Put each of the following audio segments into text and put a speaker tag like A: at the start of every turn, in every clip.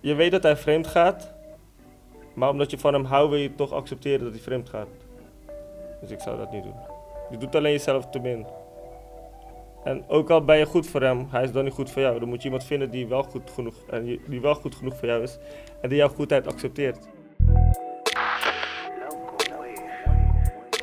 A: Je weet dat hij vreemd gaat. Maar omdat je van hem houdt, wil je toch accepteren dat hij vreemd gaat. Dus ik zou dat niet doen. Je doet alleen jezelf te min. En ook al ben je goed voor hem, hij is dan niet goed voor jou. Dan moet je iemand vinden die wel goed genoeg, en die- die wel goed genoeg voor jou is. En die jouw goedheid accepteert.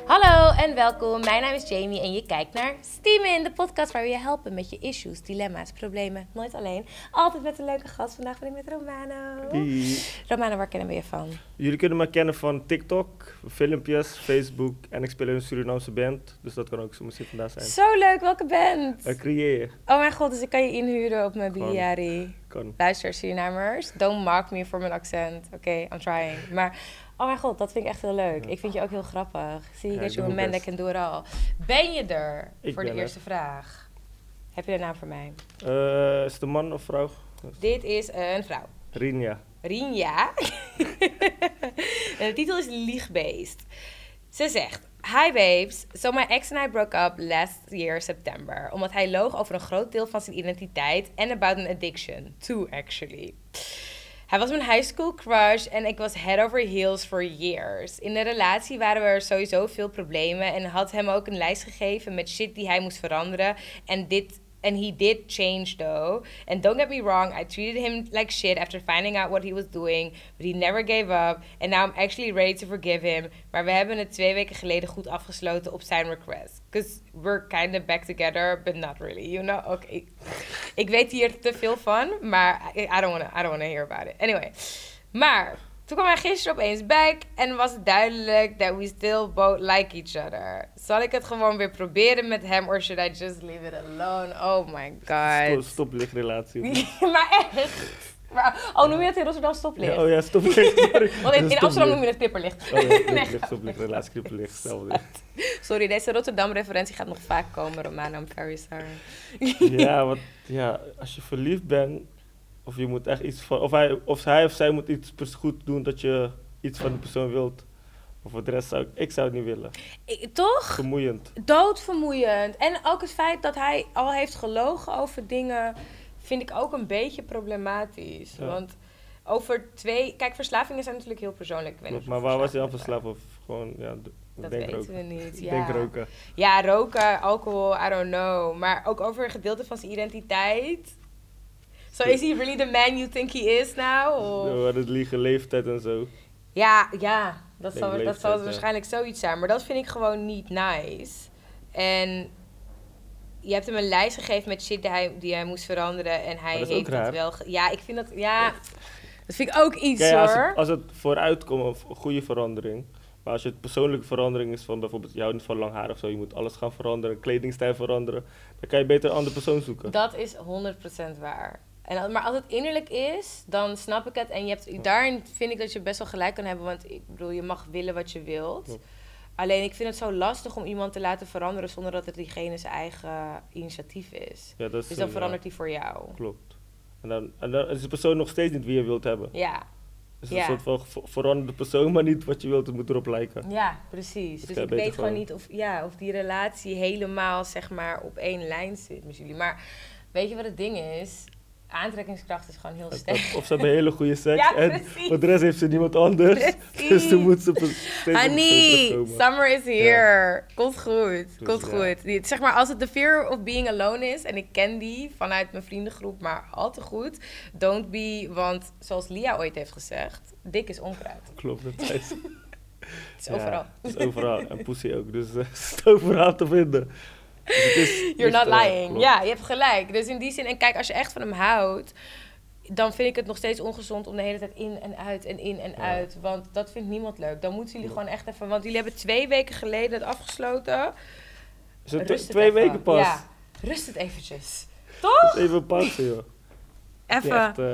B: Hallo en welkom. Mijn naam is Jamie en je kijkt naar Steam in de podcast waar we je helpen met je issues, dilemma's, problemen. Nooit alleen. Altijd met een leuke gast. Vandaag ben ik met Romano.
A: Die-
B: Romano, waar kennen we je van?
A: Jullie kunnen me kennen van TikTok, filmpjes, Facebook. En ik speel in een Surinaamse band. Dus dat kan ook zo misschien vandaag zijn.
B: Zo leuk, welke band?
A: En creëer.
B: Oh mijn god, dus ik kan je inhuren op mijn
A: Gewoon.
B: biliari.
A: Kan.
B: Luister, Surinamers, don't mock me voor mijn accent. Oké, I'm trying. Maar, oh mijn god, dat vind ik echt heel leuk. Ik vind je ook heel grappig. Zie
A: Ja,
B: dat
A: ik
B: je
A: doe
B: een
A: mijn
B: man that
A: best.
B: can do it all. Ben je er?
A: Ik
B: voor de
A: ben er.
B: eerste vraag. Heb je een naam voor mij?
A: Eh, is het een man of vrouw?
B: Dit is een vrouw.
A: Rinja.
B: Rinja. en de titel is Liegbeest. Ze zegt... Hi babes, so my ex and I broke up last year September. Omdat hij loog over een groot deel van zijn identiteit en about an addiction. Two actually. Hij was mijn high school crush en ik was head over heels for years. In de relatie waren er sowieso veel problemen en had hem ook een lijst gegeven met shit die hij moest veranderen. En dit And he did change though. And don't get me wrong, I treated him like shit after finding out what he was doing. But he never gave up. And now I'm actually ready to forgive him. Maar we hebben het twee weken geleden goed afgesloten op zijn request. Because we're kind of back together, but not really, you know? Oké. Ik weet hier te veel van, maar I, I don't want to I don't wanna hear about it. Anyway. Maar toen kwam hij gisteren opeens back en was het duidelijk that we still both like each other. Zal ik het gewoon weer proberen met hem or should I just leave it alone? Oh my
A: Sto-
B: god.
A: Stoplichtrelatie.
B: maar echt. Maar, oh, noem je dat in Rotterdam stoplicht?
A: Ja, oh ja, stoplicht. sorry.
B: Want in,
A: Dat is
B: in Amsterdam noem
A: stoplicht.
B: je het knipperlicht.
A: Oh ja,
B: Nee,
A: stoplicht, stoplicht, relatie, knipperlicht, stoplicht.
B: Sorry, deze Rotterdam-referentie gaat nog vaak komen, Romano. I'm very sorry.
A: Ja, want ja, als je verliefd bent, of je moet echt iets van, of hij of, hij of zij moet iets pers- goed doen dat je iets van de persoon wilt. Maar voor de rest zou ik, ik zou het niet willen.
B: Ik- toch?
A: Vermoeiend.
B: doodvermoeiend. En ook het feit dat hij al heeft gelogen over dingen vind ik ook een beetje problematisch.
A: Ja.
B: Want over twee... Kijk, verslavingen zijn natuurlijk heel persoonlijk. Ik weet niet of
A: maar waar was hij aan
B: verslavingen
A: verslaafd of gewoon, ja, d-
B: Dat
A: denk
B: weten
A: roken.
B: we niet,
A: Ik Denk
B: ja.
A: roken.
B: zijn. Ja, roken, alcohol, I don't know. Maar ook over een gedeelte van zijn identiteit. So is he really the man you think he is now? Of?
A: Door het liegen, leeftijd en zo.
B: Ja, ja, dat
A: Denk
B: zal, dat
A: leeftijd,
B: zal
A: ja.
B: waarschijnlijk zoiets zijn. Maar dat vind ik gewoon niet nice. En je hebt hem een lijst gegeven met shit die hij, die hij moest veranderen. En hij
A: dat is
B: heeft
A: ook raar.
B: het wel... ge- Ja, ik vind dat... Ja, dat vind ik ook iets
A: Kijk, als,
B: hoor.
A: het, als het vooruit komt, een v- goede verandering. Maar als het persoonlijke verandering is van bijvoorbeeld, je houdt niet van lang haar of zo, je moet alles gaan veranderen, kledingstijl veranderen, dan kan je beter een andere persoon zoeken.
B: Dat is 100% waar. En, al- maar als het innerlijk is, dan snap ik het. En je hebt, daarin vind ik dat je best wel gelijk kan hebben. Want ik bedoel, je mag willen wat je wilt.
A: Ja.
B: Alleen ik vind het zo lastig om iemand te laten veranderen zonder dat het diegene zijn eigen initiatief is.
A: ja, dat is
B: Dus dan
A: een,
B: verandert die voor jou.
A: ja, klopt. En dan, en dan is de persoon nog steeds niet wie je wilt hebben.
B: Ja,
A: Dus
B: Ja.
A: een soort van ver- veranderde persoon, maar niet wat je wilt, het moet erop lijken.
B: ja, precies.
A: Dat
B: Dus
A: kan
B: ik
A: beter
B: weet gewoon
A: gewoon.
B: niet of, ja, of die relatie helemaal zeg maar op één lijn zit met jullie. Maar weet je wat het ding is? Aantrekkingskracht is gewoon heel
A: Dat-
B: sterk.
A: dat- Of ze hebben hele goede seks
B: Ja,
A: en
B: precies.
A: voor de rest heeft ze niemand anders. Dus
B: Precies.
A: dan moet ze per- steeds op de persoon
B: Honey,
A: terugkomen.
B: summer is here. Komt goed,
A: Dus
B: komt
A: ja.
B: goed. Die- Zeg maar, als het de fear of being alone is, en ik ken die vanuit mijn vriendengroep, maar al te goed, don't be, want zoals Lia ooit heeft gezegd, dik is onkruid.
A: Klopt, dat is
B: Het is
A: Ja,
B: overal.
A: het is overal. En pussy ook. Dus eh, het is overal te vinden. Dus het is
B: You're not
A: liefde,
B: lying.
A: klopt.
B: Ja, je hebt gelijk. Dus in die zin, en kijk, als je echt van hem houdt, dan vind ik het nog steeds ongezond om de hele tijd in en uit en in en
A: Ja.
B: uit. Want dat vindt niemand leuk. Dan moeten jullie
A: Ja.
B: gewoon echt even, want jullie hebben twee weken geleden het afgesloten.
A: Is het
B: Rust het
A: twee
B: even.
A: weken pas?
B: Ja, rust het eventjes.
A: Dat
B: Toch?
A: is even passen, joh. Niet
B: Even.
A: echt, eh,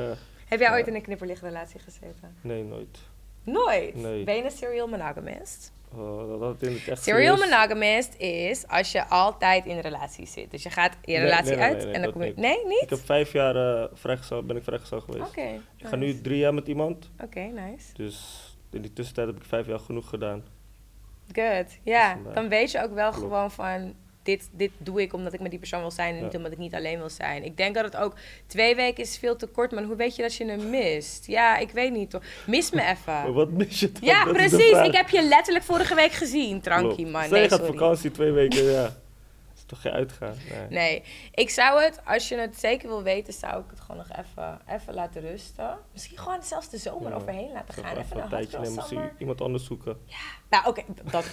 B: Heb jij
A: ja.
B: ooit in een knipperlichtrelatie gezeten?
A: nee, nooit.
B: Nooit.
A: Nee.
B: Ben je een serial monogamist?
A: Oh, dat had ik in het echt
B: Serial
A: serieus.
B: monogamist is als je altijd in een relatie zit. Dus je gaat je
A: Nee,
B: relatie
A: nee, nee,
B: uit
A: nee, nee,
B: en
A: dat
B: dan kom je...
A: niet.
B: Nee, niet?
A: Ik heb vijf jaar eh vrijgezel, ben ik vrijgezel geweest.
B: Oké.
A: Ik ga
B: nice.
A: nu drie jaar met iemand.
B: Oké, nice.
A: Dus in die tussentijd heb ik vijf jaar genoeg gedaan.
B: Good. Ja,
A: vandaar.
B: dan weet je ook wel
A: eh, Klopt.
B: gewoon van... dit, dit doe ik omdat ik met die persoon wil zijn en
A: Ja.
B: niet omdat ik niet alleen wil zijn. Ik denk dat het ook twee weken is veel te kort, maar hoe weet je dat je hem mist? Ja, ik weet niet toch. Mis me even.
A: Wat mis je dan?
B: Ja,
A: Dat is de
B: precies.
A: vraag.
B: Ik heb je letterlijk vorige week gezien, trankie
A: Klopt.
B: man.
A: Stel je
B: Nee,
A: gaat
B: sorry.
A: vakantie twee weken, ja. Dat is toch geen uitgaan? Nee.
B: Nee, ik zou het, als je het zeker wil weten, zou ik het gewoon nog even, even laten rusten. Misschien gewoon zelfs de zomer
A: Ja.
B: overheen laten
A: Toch
B: gaan. Even
A: even
B: de
A: een tijdje nemen,
B: hot girl
A: misschien
B: summer.
A: iemand anders zoeken.
B: Nou, oké, dat,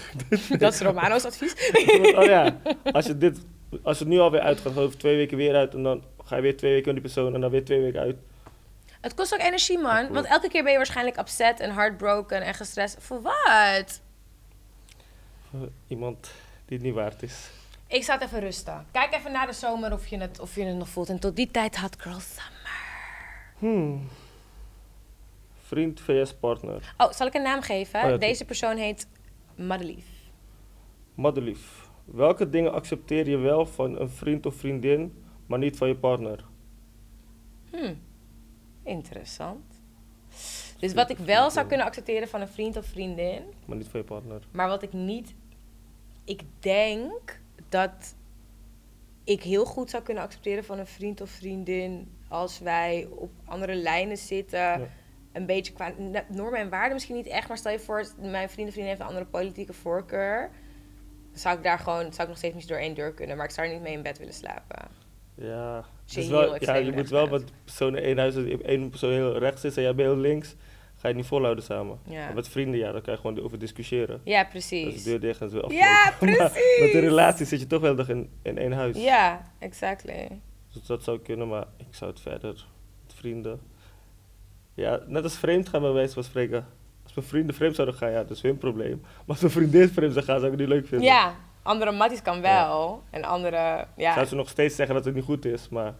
B: dat is Romano's advies.
A: oh ja, als je, dit, als je het nu alweer uit gaat, ga je over twee weken weer uit en dan ga je weer twee weken met die persoon en dan weer twee weken uit.
B: Het kost ook energie,
A: Dat
B: man.
A: klopt.
B: Want elke keer ben je waarschijnlijk upset en heartbroken en gestrest. Voor wat?
A: Iemand die het niet waard is.
B: Ik zou het even rusten. Kijk even naar de zomer of je het, of je het nog voelt. En tot die tijd had Girl Summer.
A: Hmm. Vriend vs partner.
B: Oh, zal ik een naam geven?
A: Oh ja,
B: Deze persoon heet Madelief.
A: Madelief. Welke dingen accepteer je wel van een vriend of vriendin, maar niet van je partner?
B: Interessant. Dus wat ik wel zou kunnen accepteren van een vriend of vriendin,
A: Maar niet van je partner.
B: maar wat ik niet. Ik denk dat ik heel goed zou kunnen accepteren van een vriend of vriendin als wij op andere lijnen zitten. Een beetje qua n- normen en waarden misschien niet echt, maar stel je voor, mijn vriend of vriendin heeft een andere politieke voorkeur. Zou ik daar gewoon, zou ik nog steeds niet door één deur kunnen, maar ik zou er niet mee in bed willen slapen.
A: Ja,
B: je
A: het is
B: heel
A: wel, ja
B: extreem
A: je moet
B: rechts
A: wel
B: bent.
A: met personen één huis, als één persoon heel rechts is en jij bent heel links, ga je het niet volhouden samen.
B: Ja.
A: Maar met vrienden, ja, daar kan je gewoon over discussiëren.
B: Ja,
A: Dat is
B: precies.
A: de deur dicht en het is weer
B: Ja,
A: afgelopen. Maar met een
B: precies.
A: relatie zit je toch wel nog in, in één huis.
B: Ja, exactly.
A: Dus dat zou kunnen, maar ik zou het verder met vrienden. Ja, net als vreemd gaan bij wijze van spreken. Als mijn vrienden vreemd zouden gaan, ja, dat is hun probleem. Maar als mijn vriendin vreemd zou gaan, zou ik het niet leuk vinden.
B: Ja, andere matties kan wel. En andere, ja.
A: Zou ze nog steeds zeggen dat het niet goed is, maar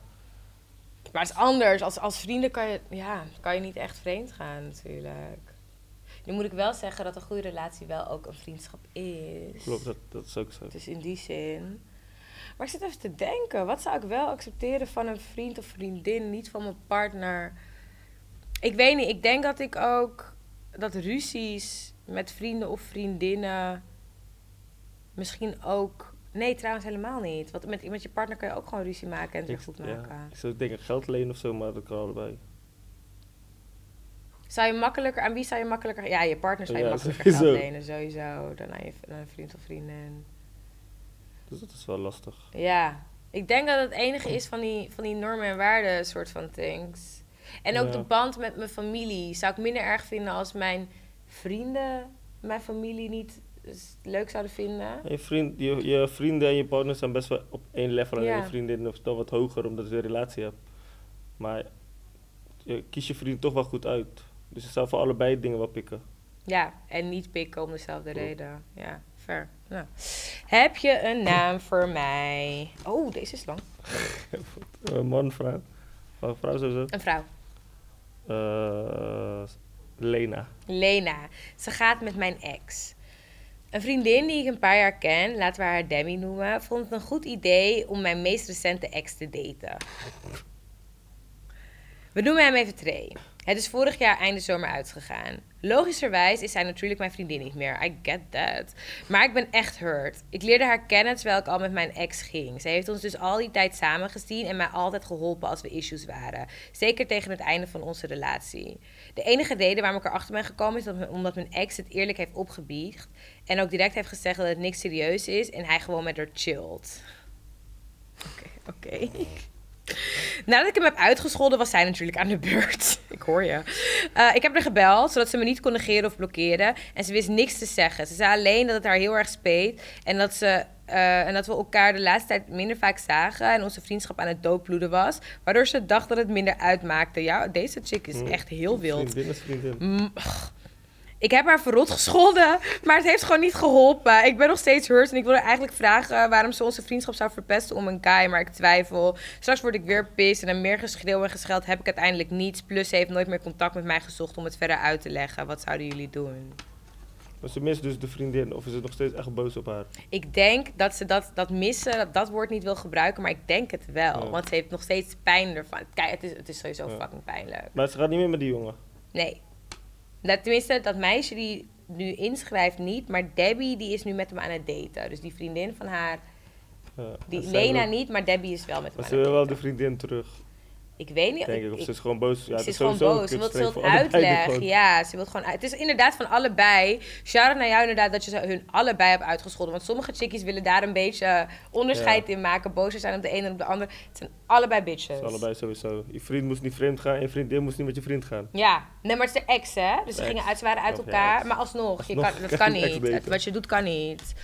B: Maar het is anders. Als, als vrienden kan je, ja, kan je niet echt vreemd gaan natuurlijk. Nu moet ik wel zeggen dat een goede relatie wel ook een vriendschap is.
A: klopt, dat, dat is ook zo.
B: Dus in die zin. Maar ik zit even te denken. Wat zou ik wel accepteren van een vriend of vriendin? Niet van mijn partner. Ik weet niet. Ik denk dat ik ook... Dat ruzies met vrienden of vriendinnen... Misschien ook... Nee, trouwens helemaal niet. Want met, met je partner kan je ook gewoon ruzie maken en het weer goed
A: ja,
B: maken.
A: ik zou denken geld lenen of zo, maar dat kan allebei.
B: Zou je makkelijker, aan wie zou je makkelijker... Ja, je partner zou je
A: Ja,
B: makkelijker gaan
A: sowieso.
B: lenen, sowieso. Dan aan, je, aan een vriend of vriendin.
A: Dus dat is wel lastig.
B: Ja, ik denk dat het enige is van die, van die normen en waarden soort van things. En ook
A: Ja.
B: de band met mijn familie zou ik minder erg vinden als mijn vrienden mijn familie niet s- leuk zouden vinden.
A: En je, vriend, je, je vrienden en je partner zijn best wel op één level. En
B: Ja.
A: je vriendin is dan wat hoger, omdat je een relatie hebt. Maar je kies je vriend toch wel goed uit. Dus je zou voor allebei dingen wel pikken.
B: Ja, en niet pikken om dezelfde
A: Klopt.
B: reden. Ja, fair. Nou. Heb je een naam voor mij? Oh, deze is lang.
A: Eh, man, vrouw. Oh, vrouw sowieso.
B: Een vrouw.
A: Eh, Lena.
B: Lena. Ze gaat met mijn ex. Een vriendin die ik een paar jaar ken, laten we haar Demi noemen, vond het een goed idee om mijn meest recente ex te daten. We noemen hem even Trey. Het is vorig jaar einde zomer uitgegaan. Logischerwijs is hij natuurlijk mijn vriendin niet meer. I get that. Maar ik ben echt hurt. Ik leerde haar kennen terwijl ik al met mijn ex ging. Ze heeft ons dus al die tijd samen gezien en mij altijd geholpen als we issues waren. Zeker tegen het einde van onze relatie. De enige reden waarom ik erachter ben gekomen is dat m- omdat mijn ex het eerlijk heeft opgebiecht. En ook direct heeft gezegd dat het niks serieus is en hij gewoon met haar chillt. Oké, oké. Nadat ik hem heb uitgescholden, was zij natuurlijk aan de beurt. Ik hoor je. Eh, ik heb haar gebeld, zodat ze me niet kon negeren of blokkeren. En ze wist niks te zeggen. Ze zei alleen dat het haar heel erg speet. En dat, ze, eh, en dat we elkaar de laatste tijd minder vaak zagen. En onze vriendschap aan het doodbloeden was. Waardoor ze dacht dat het minder uitmaakte. Ja, deze chick is echt heel wild.
A: Vriendin is vriendin.
B: Mm, Ik heb haar verrot gescholden, maar het heeft gewoon niet geholpen. Ik ben nog steeds hurt en ik wilde eigenlijk vragen waarom ze onze vriendschap zou verpesten om een kaai, maar ik twijfel. Straks word ik weer pissed en aan meer geschreeuw en gescheld heb ik uiteindelijk niets. Plus ze heeft nooit meer contact met mij gezocht om het verder uit te leggen. Wat zouden jullie doen?
A: Maar ze mist dus de vriendin. Of is het nog steeds echt boos op haar?
B: Ik denk dat ze dat, dat missen, dat, dat woord niet wil gebruiken, maar ik denk het wel.
A: Ja.
B: Want ze heeft nog steeds pijn ervan. Kijk, het is, het is sowieso
A: Ja.
B: fucking pijnlijk.
A: Maar ze gaat niet meer met die jongen.
B: Nee. Dat, tenminste, dat meisje die nu inschrijft niet. Maar Debbie die is nu met hem aan het daten. Dus die vriendin van haar
A: Ja,
B: Die
A: Eh, en zij
B: Lena
A: wil-
B: niet, maar Debbie is wel met hem
A: Maar
B: aan
A: ze
B: het
A: wil wel de
B: daten.
A: vriendin terug,
B: Ik weet niet.
A: denk
B: ik-
A: ik. Of
B: ik-
A: ze is gewoon boos. Ja,
B: ze
A: dat
B: is
A: is
B: gewoon
A: sowieso een
B: boos. Ze wil, ze
A: kutstreek
B: wil het
A: voor allebei
B: uitleg.
A: gewoon.
B: Ja, ze wil het gewoon uit. Het is inderdaad van allebei. Shout-out naar jou inderdaad dat je ze hun allebei hebt uitgescholden. Want sommige chickies willen daar een beetje eh, onderscheid in maken. Boos zijn op de ene en op de ander. Het zijn allebei bitches.
A: Het is allebei sowieso. Je vriend moest niet vreemd gaan en je vriendin moest niet met je vriend gaan.
B: Ja, nee, maar het is de ex, hè? Dus ze,
A: Ex.
B: gingen uit, ze waren uit
A: Snap je,
B: elkaar.
A: ex.
B: Maar alsnog, je
A: Alsnog
B: kan, dat
A: kan
B: kan
A: je ex
B: niet.
A: daten.
B: Wat je doet, kan niet.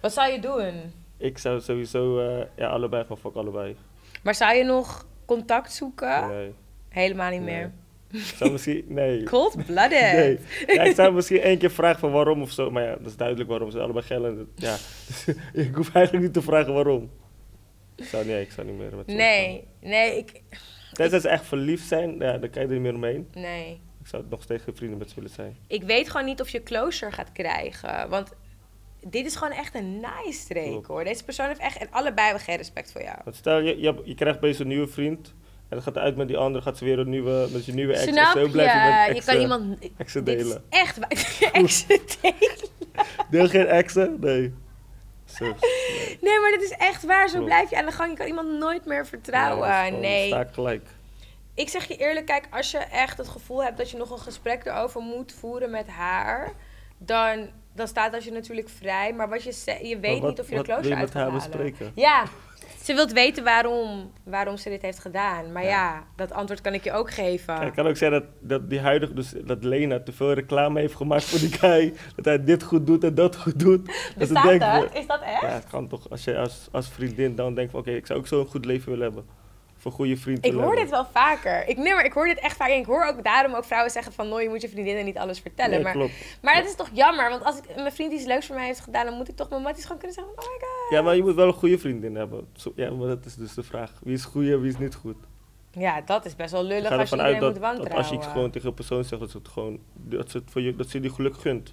B: Wat zou je doen?
A: Ik zou sowieso, eh, ja, allebei gewoon fuck allebei.
B: Maar zou je nog contact zoeken?
A: Nee.
B: Helemaal niet
A: Nee.
B: meer.
A: Ik zou misschien, nee.
B: Cold-blooded.
A: Nee. Ja, ik zou misschien één keer vragen van waarom of zo, maar ja, dat is duidelijk waarom. Ze zijn allebei gellen. Ja. Dus ik hoef eigenlijk niet te vragen waarom. Ik zou, nee, ik zou niet meer met ze omgaan.
B: Nee, nee, ik...
A: Tenzij ze echt verliefd zijn, ja, dan kan je er niet meer omheen.
B: Nee.
A: Ik zou nog steeds geen vrienden met ze willen zijn.
B: Ik weet gewoon niet of je closure gaat krijgen. Want dit is gewoon echt een nice streek,
A: Klopt.
B: hoor. Deze persoon heeft echt... En allebei hebben geen respect voor jou.
A: Want stel, je, je, je krijgt opeens een nieuwe vriend. En dan gaat uit met die andere, gaat ze weer een nieuwe, met je nieuwe ex. en
B: Snap
A: zo blijf je
B: je?
A: met
B: Je
A: exen.
B: kan iemand...
A: exen
B: dit is
A: delen.
B: echt... waar- Exen delen.
A: Deel geen exen? Nee. Zo,
B: Nou, Nee, maar dit is echt waar. Zo
A: Klopt.
B: blijf je aan de gang. Je kan iemand nooit meer
A: dat is
B: vertrouwen.
A: gewoon-
B: eh, Nee.
A: Sta ik gelijk.
B: Ik zeg je eerlijk, kijk, als je echt het gevoel hebt dat je nog een gesprek erover moet voeren met haar, dan, dan staat dat je natuurlijk vrij. Maar wat je, ze- je weet
A: wat-
B: niet of je de
A: wat wil je
B: closure uit
A: met
B: gaat
A: haar
B: halen.
A: bespreken?
B: Ja, ze wilt weten waarom, waarom ze dit heeft gedaan. Maar ja. dat antwoord kan ik je ook geven.
A: Ja, het kan ook zijn dat, dat die huidige, dus dat Lena te veel reclame heeft gemaakt voor die guy. dat hij dit goed doet en dat goed doet. ze
B: Bestaat
A: denkt,
B: dat?
A: eh,
B: Is dat echt?
A: Ja, het kan toch. Als je als, als vriendin dan denkt van oké, ik zou ook zo'n goed leven willen hebben. Of een goede vriend
B: Ik
A: willen
B: hoor dit
A: hebben.
B: wel vaker. Ik, nee, maar ik hoor dit echt vaak. En ik hoor ook daarom ook vrouwen zeggen van... ...no, je moet je vriendinnen niet alles vertellen.
A: Nee,
B: maar
A: klopt.
B: maar dat is toch jammer? Want als ik, mijn vriend iets leuks voor mij heeft gedaan... ...dan moet ik toch mijn matties gewoon kunnen zeggen van... ...oh my god.
A: Ja, maar je moet wel een goede vriendin hebben. Zo- ja, maar dat is dus de vraag. Wie is goed en wie is niet goed?
B: Ja, dat is best wel
A: Ik
B: lullig
A: ga
B: als je
A: ervan
B: iedereen
A: uit
B: moet
A: dat, dat
B: wantrouwen.
A: als je iets gewoon tegen een persoon zegt, dat ze het gewoon, dat ze, het voor je, dat ze die geluk gunt.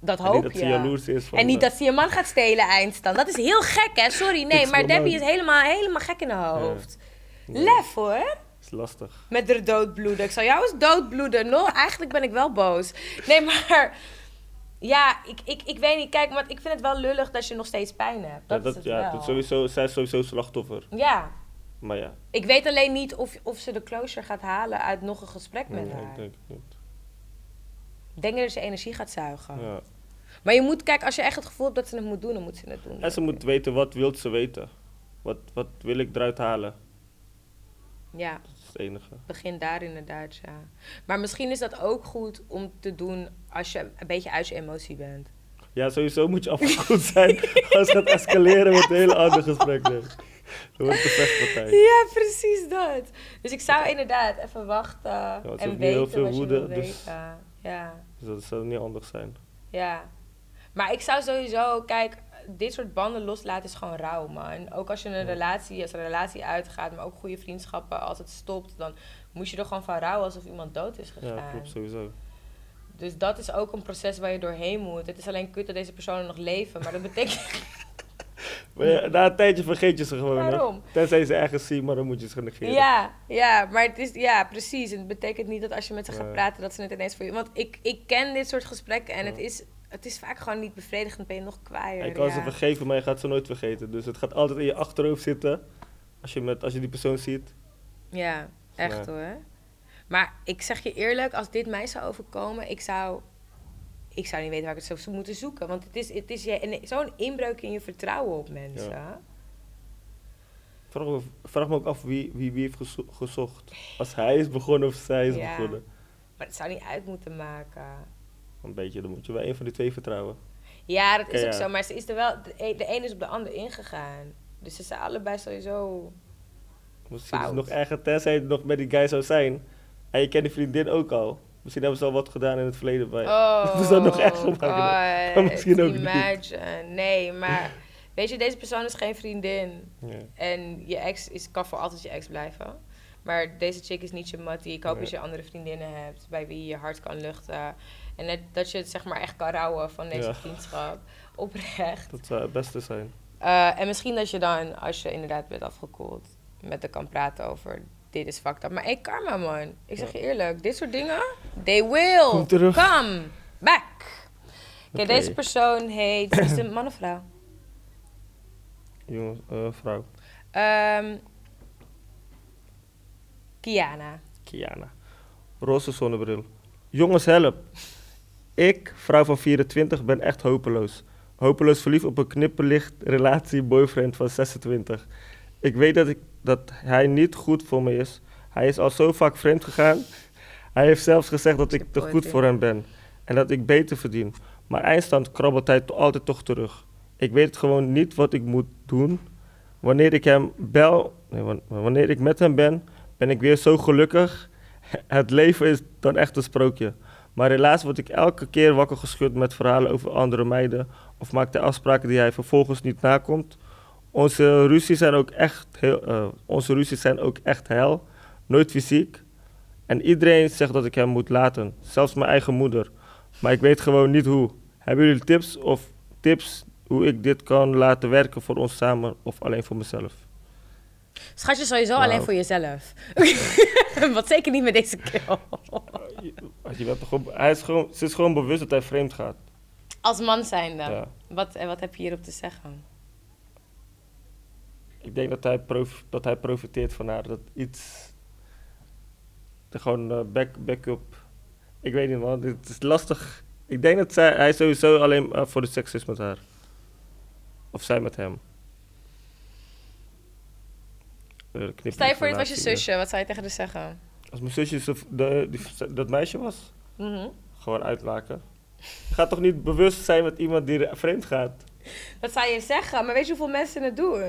B: Dat
A: en niet
B: hoop
A: dat
B: je.
A: ze jaloers is van...
B: en niet
A: eh,
B: dat ze je man gaat stelen eindstand. Dat is heel gek, hè? Sorry,
A: Dit
B: nee.
A: is
B: Maar
A: normaal.
B: Debbie is helemaal, helemaal gek in haar hoofd.
A: eh, nee,
B: Lef, hoor.
A: is lastig.
B: Met de doodbloeden. Ik zal jou eens doodbloeden. No, eigenlijk ben ik wel boos. Nee, maar... Ja, ik, ik, ik weet niet. Kijk, maar ik vind het wel lullig dat je nog steeds pijn hebt. Dat,
A: ja, dat,
B: is het
A: ja,
B: wel.
A: dat sowieso, zij is sowieso slachtoffer.
B: Ja.
A: Maar ja,
B: Ik weet alleen niet of, of ze de closure gaat halen uit nog een gesprek met
A: nee,
B: haar.
A: ik denk het niet.
B: Denk je dat ze energie gaat zuigen.
A: Ja.
B: Maar je moet, kijk, als je echt het gevoel hebt dat ze het moet doen, dan moet ze het doen.
A: En ze moet weten, wat wil ze weten? Wat, wat wil ik eruit halen?
B: Ja,
A: Dat is het enige.
B: begin daar inderdaad, ja. Maar misschien is dat ook goed om te doen als je een beetje uit je emotie bent.
A: Ja, sowieso moet je afgekoeld zijn als het gaat escaleren met een hele ander gesprek. Nee. Dan wordt het een vechtpartij.
B: Ja, precies dat. Dus ik zou inderdaad even wachten
A: ze heeft
B: en
A: nu heel
B: weten
A: veel
B: wat je
A: woede,
B: wil
A: dus-
B: weten. Ja,
A: Dus dat zou niet anders zijn.
B: ja. Maar ik zou sowieso, kijk, dit soort banden loslaten is gewoon rauw, man. Ook als je een relatie, als een relatie uitgaat, maar ook goede vriendschappen, als het stopt, dan moet je er gewoon van rouwen alsof iemand dood is gegaan.
A: Ja, klopt sowieso.
B: Dus dat is ook een proces waar je doorheen moet. Het is alleen kut dat deze personen nog leven, maar dat betekent...
A: Maar ja, na een tijdje vergeet je ze gewoon. hè.
B: Waarom?
A: Tenzij je ze ergens zien, maar dan moet je ze negeren.
B: ja, ja, maar het is... Ja, precies. En het betekent niet dat als je met ze gaat
A: Nee.
B: praten, dat ze het ineens voor je... Want ik, ik ken dit soort gesprekken en het,
A: Ja.
B: is, het is vaak gewoon niet bevredigend, ben je nog
A: Ja,
B: kwaaier.
A: je kan ze
B: ja.
A: vergeven, maar je gaat ze nooit vergeten. Dus het gaat altijd in je achterhoofd zitten. Als je, met, als je die persoon ziet.
B: Ja, echt
A: Ja.
B: hoor. Maar ik zeg je eerlijk, als dit mij zou overkomen, ik zou, ik zou niet weten waar ik het zou zo- moeten zoeken. Want het is, het is je- en zo'n inbreuk in je vertrouwen op mensen.
A: Vraag me, vraag me ook af wie, wie, wie heeft gezo- gezocht. Als hij is begonnen of zij is
B: Ja.
A: begonnen.
B: Maar het zou niet uit moeten maken.
A: Een beetje, dan moet je wel een van die twee vertrouwen.
B: Ja, dat is
A: Ja,
B: ook
A: ja.
B: zo. Maar ze is er wel, de, e- de een is op de ander ingegaan. Dus ze zijn allebei sowieso.
A: Misschien is het
B: Fout.
A: nog erger, tenzij het nog met die guy zou zijn. En je kent die vriendin ook al. Misschien hebben ze al wat gedaan in het verleden bij
B: Oh,
A: Dat is dan nog erger maken.
B: God,
A: Kan misschien ook niet.
B: imagine. Nee, maar weet je, deze persoon is geen vriendin.
A: Ja.
B: En je ex is, kan voor altijd je ex blijven. Maar deze chick is niet je mattie. Ik hoop
A: Nee.
B: dat je andere vriendinnen hebt bij wie je hart kan luchten. En dat, dat je het zeg maar echt kan rouwen van deze
A: Ja.
B: vriendschap. Oprecht.
A: Dat zou het beste zijn.
B: Eh, en misschien dat je dan, als je inderdaad bent afgekoeld, met haar kan praten over dit is fucked up. Maar hey, karma man, ik zeg je eerlijk, dit soort dingen, they will
A: Kom terug.
B: come back. Oké,
A: Oké.
B: deze persoon heet, is het een man of vrouw?
A: Jongens, eh, vrouw.
B: Ehm Kiana.
A: Kiana. Roze zonnebril. Jongens, help. Ik, vrouw van 24, ben echt hopeloos. Hopeloos verliefd op een knipperlicht relatie boyfriend van 26. Ik weet dat, ik, dat hij niet goed voor me is. Hij is al zo vaak vreemd gegaan. Hij heeft zelfs gezegd dat ik te goed voor hem ben. En dat ik beter verdien. Maar eindstand krabbelt hij to- altijd toch terug. Ik weet gewoon niet wat ik moet doen. Wanneer ik hem bel, nee, wan- wanneer ik met hem ben, ben ik weer zo gelukkig. Het leven is dan echt een sprookje. Maar helaas word ik elke keer wakker geschud met verhalen over andere meiden. Of maakt hij afspraken die hij vervolgens niet nakomt. Onze ruzies zijn ook echt, heel, eh, onze ruzies zijn ook echt hel. Nooit fysiek. En iedereen zegt dat ik hem moet laten. Zelfs mijn eigen moeder. Maar ik weet gewoon niet hoe. Hebben jullie tips of tips hoe ik dit kan laten werken voor ons samen of alleen voor mezelf?
B: Schatje, sowieso
A: Wauw.
B: alleen voor jezelf. Wat zeker niet met deze keel.
A: Je, je bent toch gewoon- hij is gewoon, ze is gewoon bewust dat hij vreemd gaat.
B: Als man zijnde,
A: Ja.
B: wat, en wat heb je hierop te zeggen?
A: Ik denk dat hij, prof, dat hij profiteert van haar. Dat iets. de gewoon eh, back, backup. Ik weet niet, man. Het is lastig. Ik denk dat zij, hij sowieso alleen eh, voor de seks is met haar. Of zij met hem. Eh, knip
B: Stel je
A: die
B: voor, dit was je
A: relatie weer.
B: zusje, wat zou je tegen haar zeggen?
A: Als mijn zusje zo- de, die- dat meisje was,
B: Mhm.
A: gewoon uitlaken. Je gaat toch niet bewust zijn met iemand die re- vreemd gaat?
B: Wat zou je zeggen? Maar weet je hoeveel mensen het doen? Ben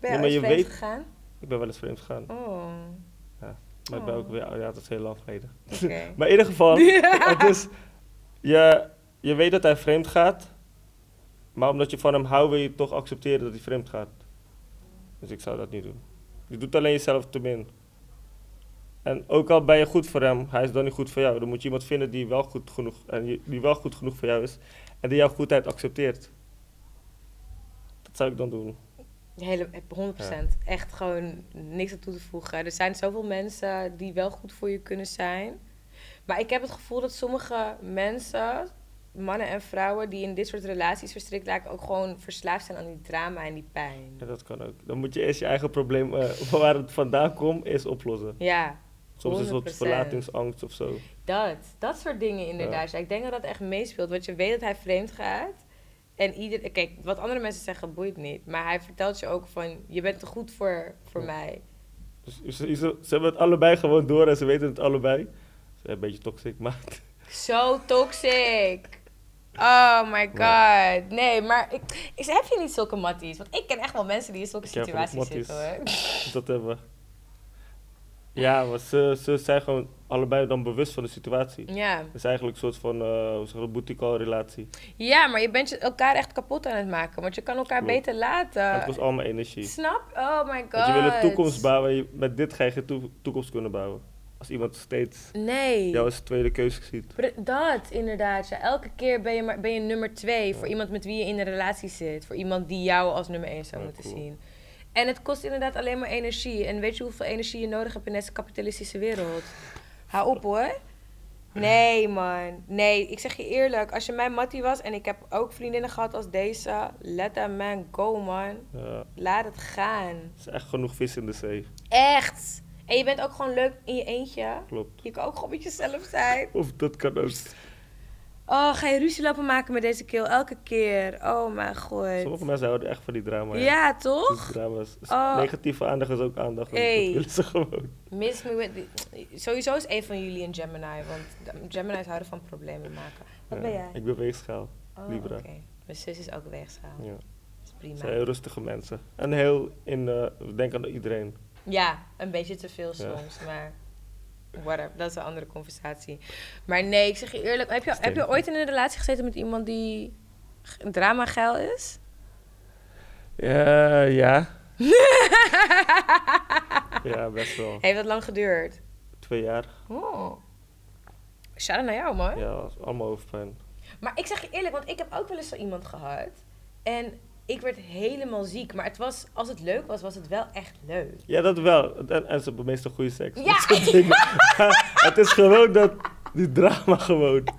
A: Ja,
B: je
A: maar
B: al eens
A: je
B: vreemd
A: weet-
B: gegaan?
A: Ik ben wel eens vreemd gegaan.
B: Oh,
A: Maar ik ben ook weer, oh ja, dat is heel lang geleden.
B: oké.
A: Maar in ieder geval, het is, je, je weet dat hij vreemd gaat, maar omdat je van hem houdt, wil je toch accepteren dat hij vreemd gaat. Dus ik zou dat niet doen. Je doet alleen jezelf te min. En ook al ben je goed voor hem, hij is dan niet goed voor jou. Dan moet je iemand vinden die wel goed genoeg, en je- die wel goed genoeg voor jou is en die jouw goedheid accepteert. Dat zou ik dan doen.
B: Hele, 100%. Echt gewoon niks aan toe te voegen. Er zijn zoveel mensen die wel goed voor je kunnen zijn. Maar ik heb het gevoel dat sommige mensen, mannen en vrouwen, die in dit soort relaties verstrikt raken, ook gewoon verslaafd zijn aan die drama en die pijn.
A: Ja, dat kan ook. Dan moet je eerst je eigen probleem, eh, waar het vandaan komt, eerst oplossen.
B: Ja,
A: Soms is het wat
B: 100%.
A: verlatingsangst of zo.
B: dat. Dat soort dingen inderdaad. Ja, ik denk dat dat echt meespeelt. Want je weet dat hij vreemd gaat. En ieder, kijk, wat andere mensen zeggen boeit niet. Maar hij vertelt je ook van, je bent te goed voor, voor
A: Ja.
B: mij.
A: Dus ze, ze- ze hebben het allebei gewoon door en ze weten het allebei. Ze zijn een beetje toxic, maar
B: Zo toxic. Oh my
A: Ja.
B: god. Nee, maar ik, ik heb je niet zulke matties. Want ik ken echt wel mensen die in zulke
A: Ik heb ook
B: situaties
A: matties.
B: zitten hoor.
A: dat hebben we. Ja, maar ze, ze zijn gewoon allebei dan bewust van de situatie.
B: Ja.
A: Het is eigenlijk een soort van, eh hoe zeg je dat, boutique call relatie.
B: ja, maar je bent je elkaar echt kapot aan het maken. Want je kan elkaar
A: Klopt.
B: beter
A: En het kost
B: laten.
A: allemaal energie.
B: Snap? Oh my god.
A: Want je wil een toekomst bouwen, en je- met dit ga je geen toe- toekomst kunnen bouwen. Als iemand steeds
B: Nee.
A: jou als tweede keuze ziet.
B: Pre- Dat, inderdaad. Ja. Elke keer ben je, maar, ben je nummer twee voor iemand met wie je in een relatie zit. Voor iemand die jou als nummer één zou
A: Ja,
B: moeten
A: cool.
B: zien. En het kost inderdaad alleen maar energie. En weet je hoeveel energie je nodig hebt in deze kapitalistische wereld? Hou op hoor. Nee man, nee. Ik zeg je eerlijk, als je mijn mattie was en ik heb ook vriendinnen gehad als deze. Let that man go man.
A: Ja,
B: Laat het gaan.
A: er is echt genoeg vis in de zee,
B: Echt. En je bent ook gewoon leuk in je eentje.
A: klopt.
B: Je kan ook gewoon met jezelf zijn.
A: Of dat kan ook.
B: Oh, ga je ruzie lopen maken met deze keel elke keer? Oh mijn god.
A: Sommige mensen houden echt van die drama. ja.
B: Ja,
A: Het
B: toch?
A: is drama's.
B: Oh.
A: Negatieve aandacht is ook aandacht. en
B: Hey.
A: Dat willen ze gewoon.
B: Miss me with... Sowieso is een van jullie een Gemini, want Gemini's houden van problemen maken. Wat
A: Ja,
B: ben jij?
A: Ik ben weegschaal.
B: Oh,
A: Libra.
B: oké. Mijn zus is ook wegschaal.
A: Ja.
B: Dat is
A: Het
B: prima.
A: zijn heel rustige mensen. En heel in, eh denk aan iedereen.
B: Ja, een beetje te
A: Ja.
B: veel soms, maar... Whatever, dat is een andere conversatie. Maar nee, ik zeg je eerlijk, heb je, heb je
A: Steven.
B: ooit in een relatie gezeten met iemand die g- dramageil is?
A: Ja, ja. ja, best wel.
B: Heeft dat lang geduurd?
A: Twee jaar.
B: Oh. Shout-out naar jou, man.
A: Ja, was allemaal hoofdpijn.
B: Maar ik zeg je eerlijk, want ik heb ook wel eens zo iemand gehad. En ik werd helemaal ziek. Maar het was, als het leuk was, was het wel echt leuk.
A: Ja, dat wel. En, en ze hebben meestal goede seks.
B: Ja.
A: Dat soort dingen. Maar het is gewoon dat, die drama gewoon. Het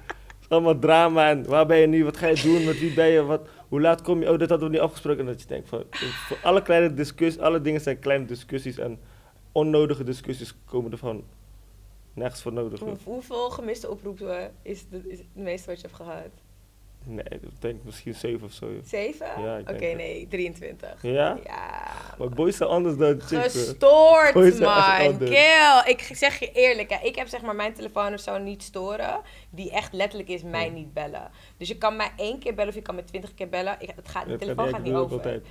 A: is allemaal drama en waar ben je nu, wat ga je doen, met wie ben je, wat, hoe laat kom je? Oh, dat hadden we niet afgesproken. En dat je denkt van, voor alle kleine discussies, alle dingen zijn kleine discussies en onnodige discussies komen ervan nergens voor nodig.
B: Hoe- hoeveel gemiste oproepen is, de, is het meeste wat je hebt gehad?
A: Nee, ik denk misschien 7 of zo. joh.
B: Zeven?
A: Ja, ik
B: Oké,
A: denk het.
B: nee, 23.
A: Ja?
B: Ja.
A: Maar boys zijn anders dan chicks. hoor.
B: Gestoord,
A: Boys zijn echt
B: man.
A: anders.
B: Kill. Ik zeg je eerlijk, hè. ik heb zeg maar mijn telefoon of zo niet storen. Die echt letterlijk is mij
A: Ja.
B: niet bellen. Dus je kan mij één keer bellen of je kan me twintig keer bellen. Ik, het gaat, de
A: Dat kan-
B: telefoon
A: ja,
B: gaat
A: ik
B: niet
A: doe dat
B: over.
A: altijd.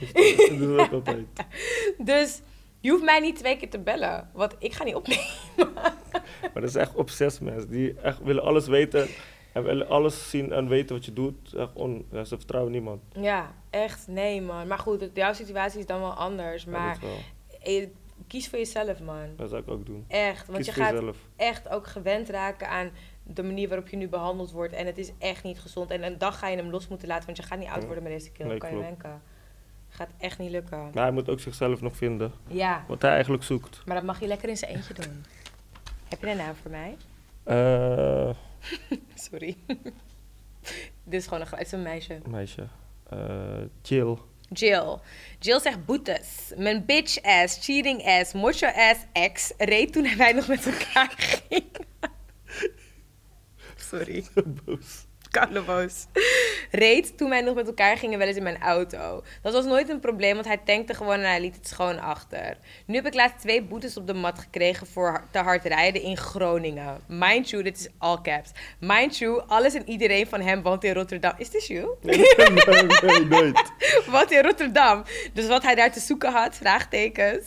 A: Ik doe dat altijd.
B: Dus je hoeft mij niet twee keer te bellen. Want ik ga niet opnemen.
A: Maar dat is echt obsess mensen. Die echt willen alles weten en willen alles zien en weten wat je doet. Echt on, ja, ze vertrouwen niemand.
B: ja, echt. Nee, man. Maar goed, het- jouw situatie is dan wel anders.
A: Ja,
B: Maar
A: dat, wel.
B: eh, kies voor jezelf, man.
A: dat zou ik ook doen.
B: Echt. Want
A: Kies
B: je
A: voor
B: gaat
A: jezelf.
B: echt ook gewend raken aan de manier waarop je nu behandeld wordt. En het is echt niet gezond. En een dag ga je hem los moeten laten, want je gaat niet oud
A: Ja.
B: worden met deze keel.
A: Nee,
B: kan je
A: klopt.
B: wenken. Gaat echt niet lukken.
A: Maar hij moet ook zichzelf nog vinden.
B: Ja,
A: Wat hij eigenlijk zoekt.
B: maar dat mag je lekker in zijn eentje doen. Heb je een naam voor mij?
A: Eh,
B: Sorry. Dit is gewoon een, grap. het is een meisje.
A: meisje. Eh, chill.
B: Jill. Jill zegt boetes. Mijn bitch ass, cheating ass, mocho ass ex reed toen wij nog met elkaar gingen. Sorry.
A: Boos.
B: Carnaboos. Reed toen wij nog met elkaar gingen wel eens in mijn auto. Dat was nooit een probleem, want hij tankte gewoon en hij liet het schoon achter. Nu heb ik laatst twee boetes op de mat gekregen voor ha- te hard rijden in Groningen. Mind you, dit is all caps. Mind you, alles en iedereen van hem woont in Rotterdam. Is dit you?
A: Nee, nee, nee, nooit.
B: Wat in Rotterdam. Dus wat hij daar te zoeken had, vraagtekens.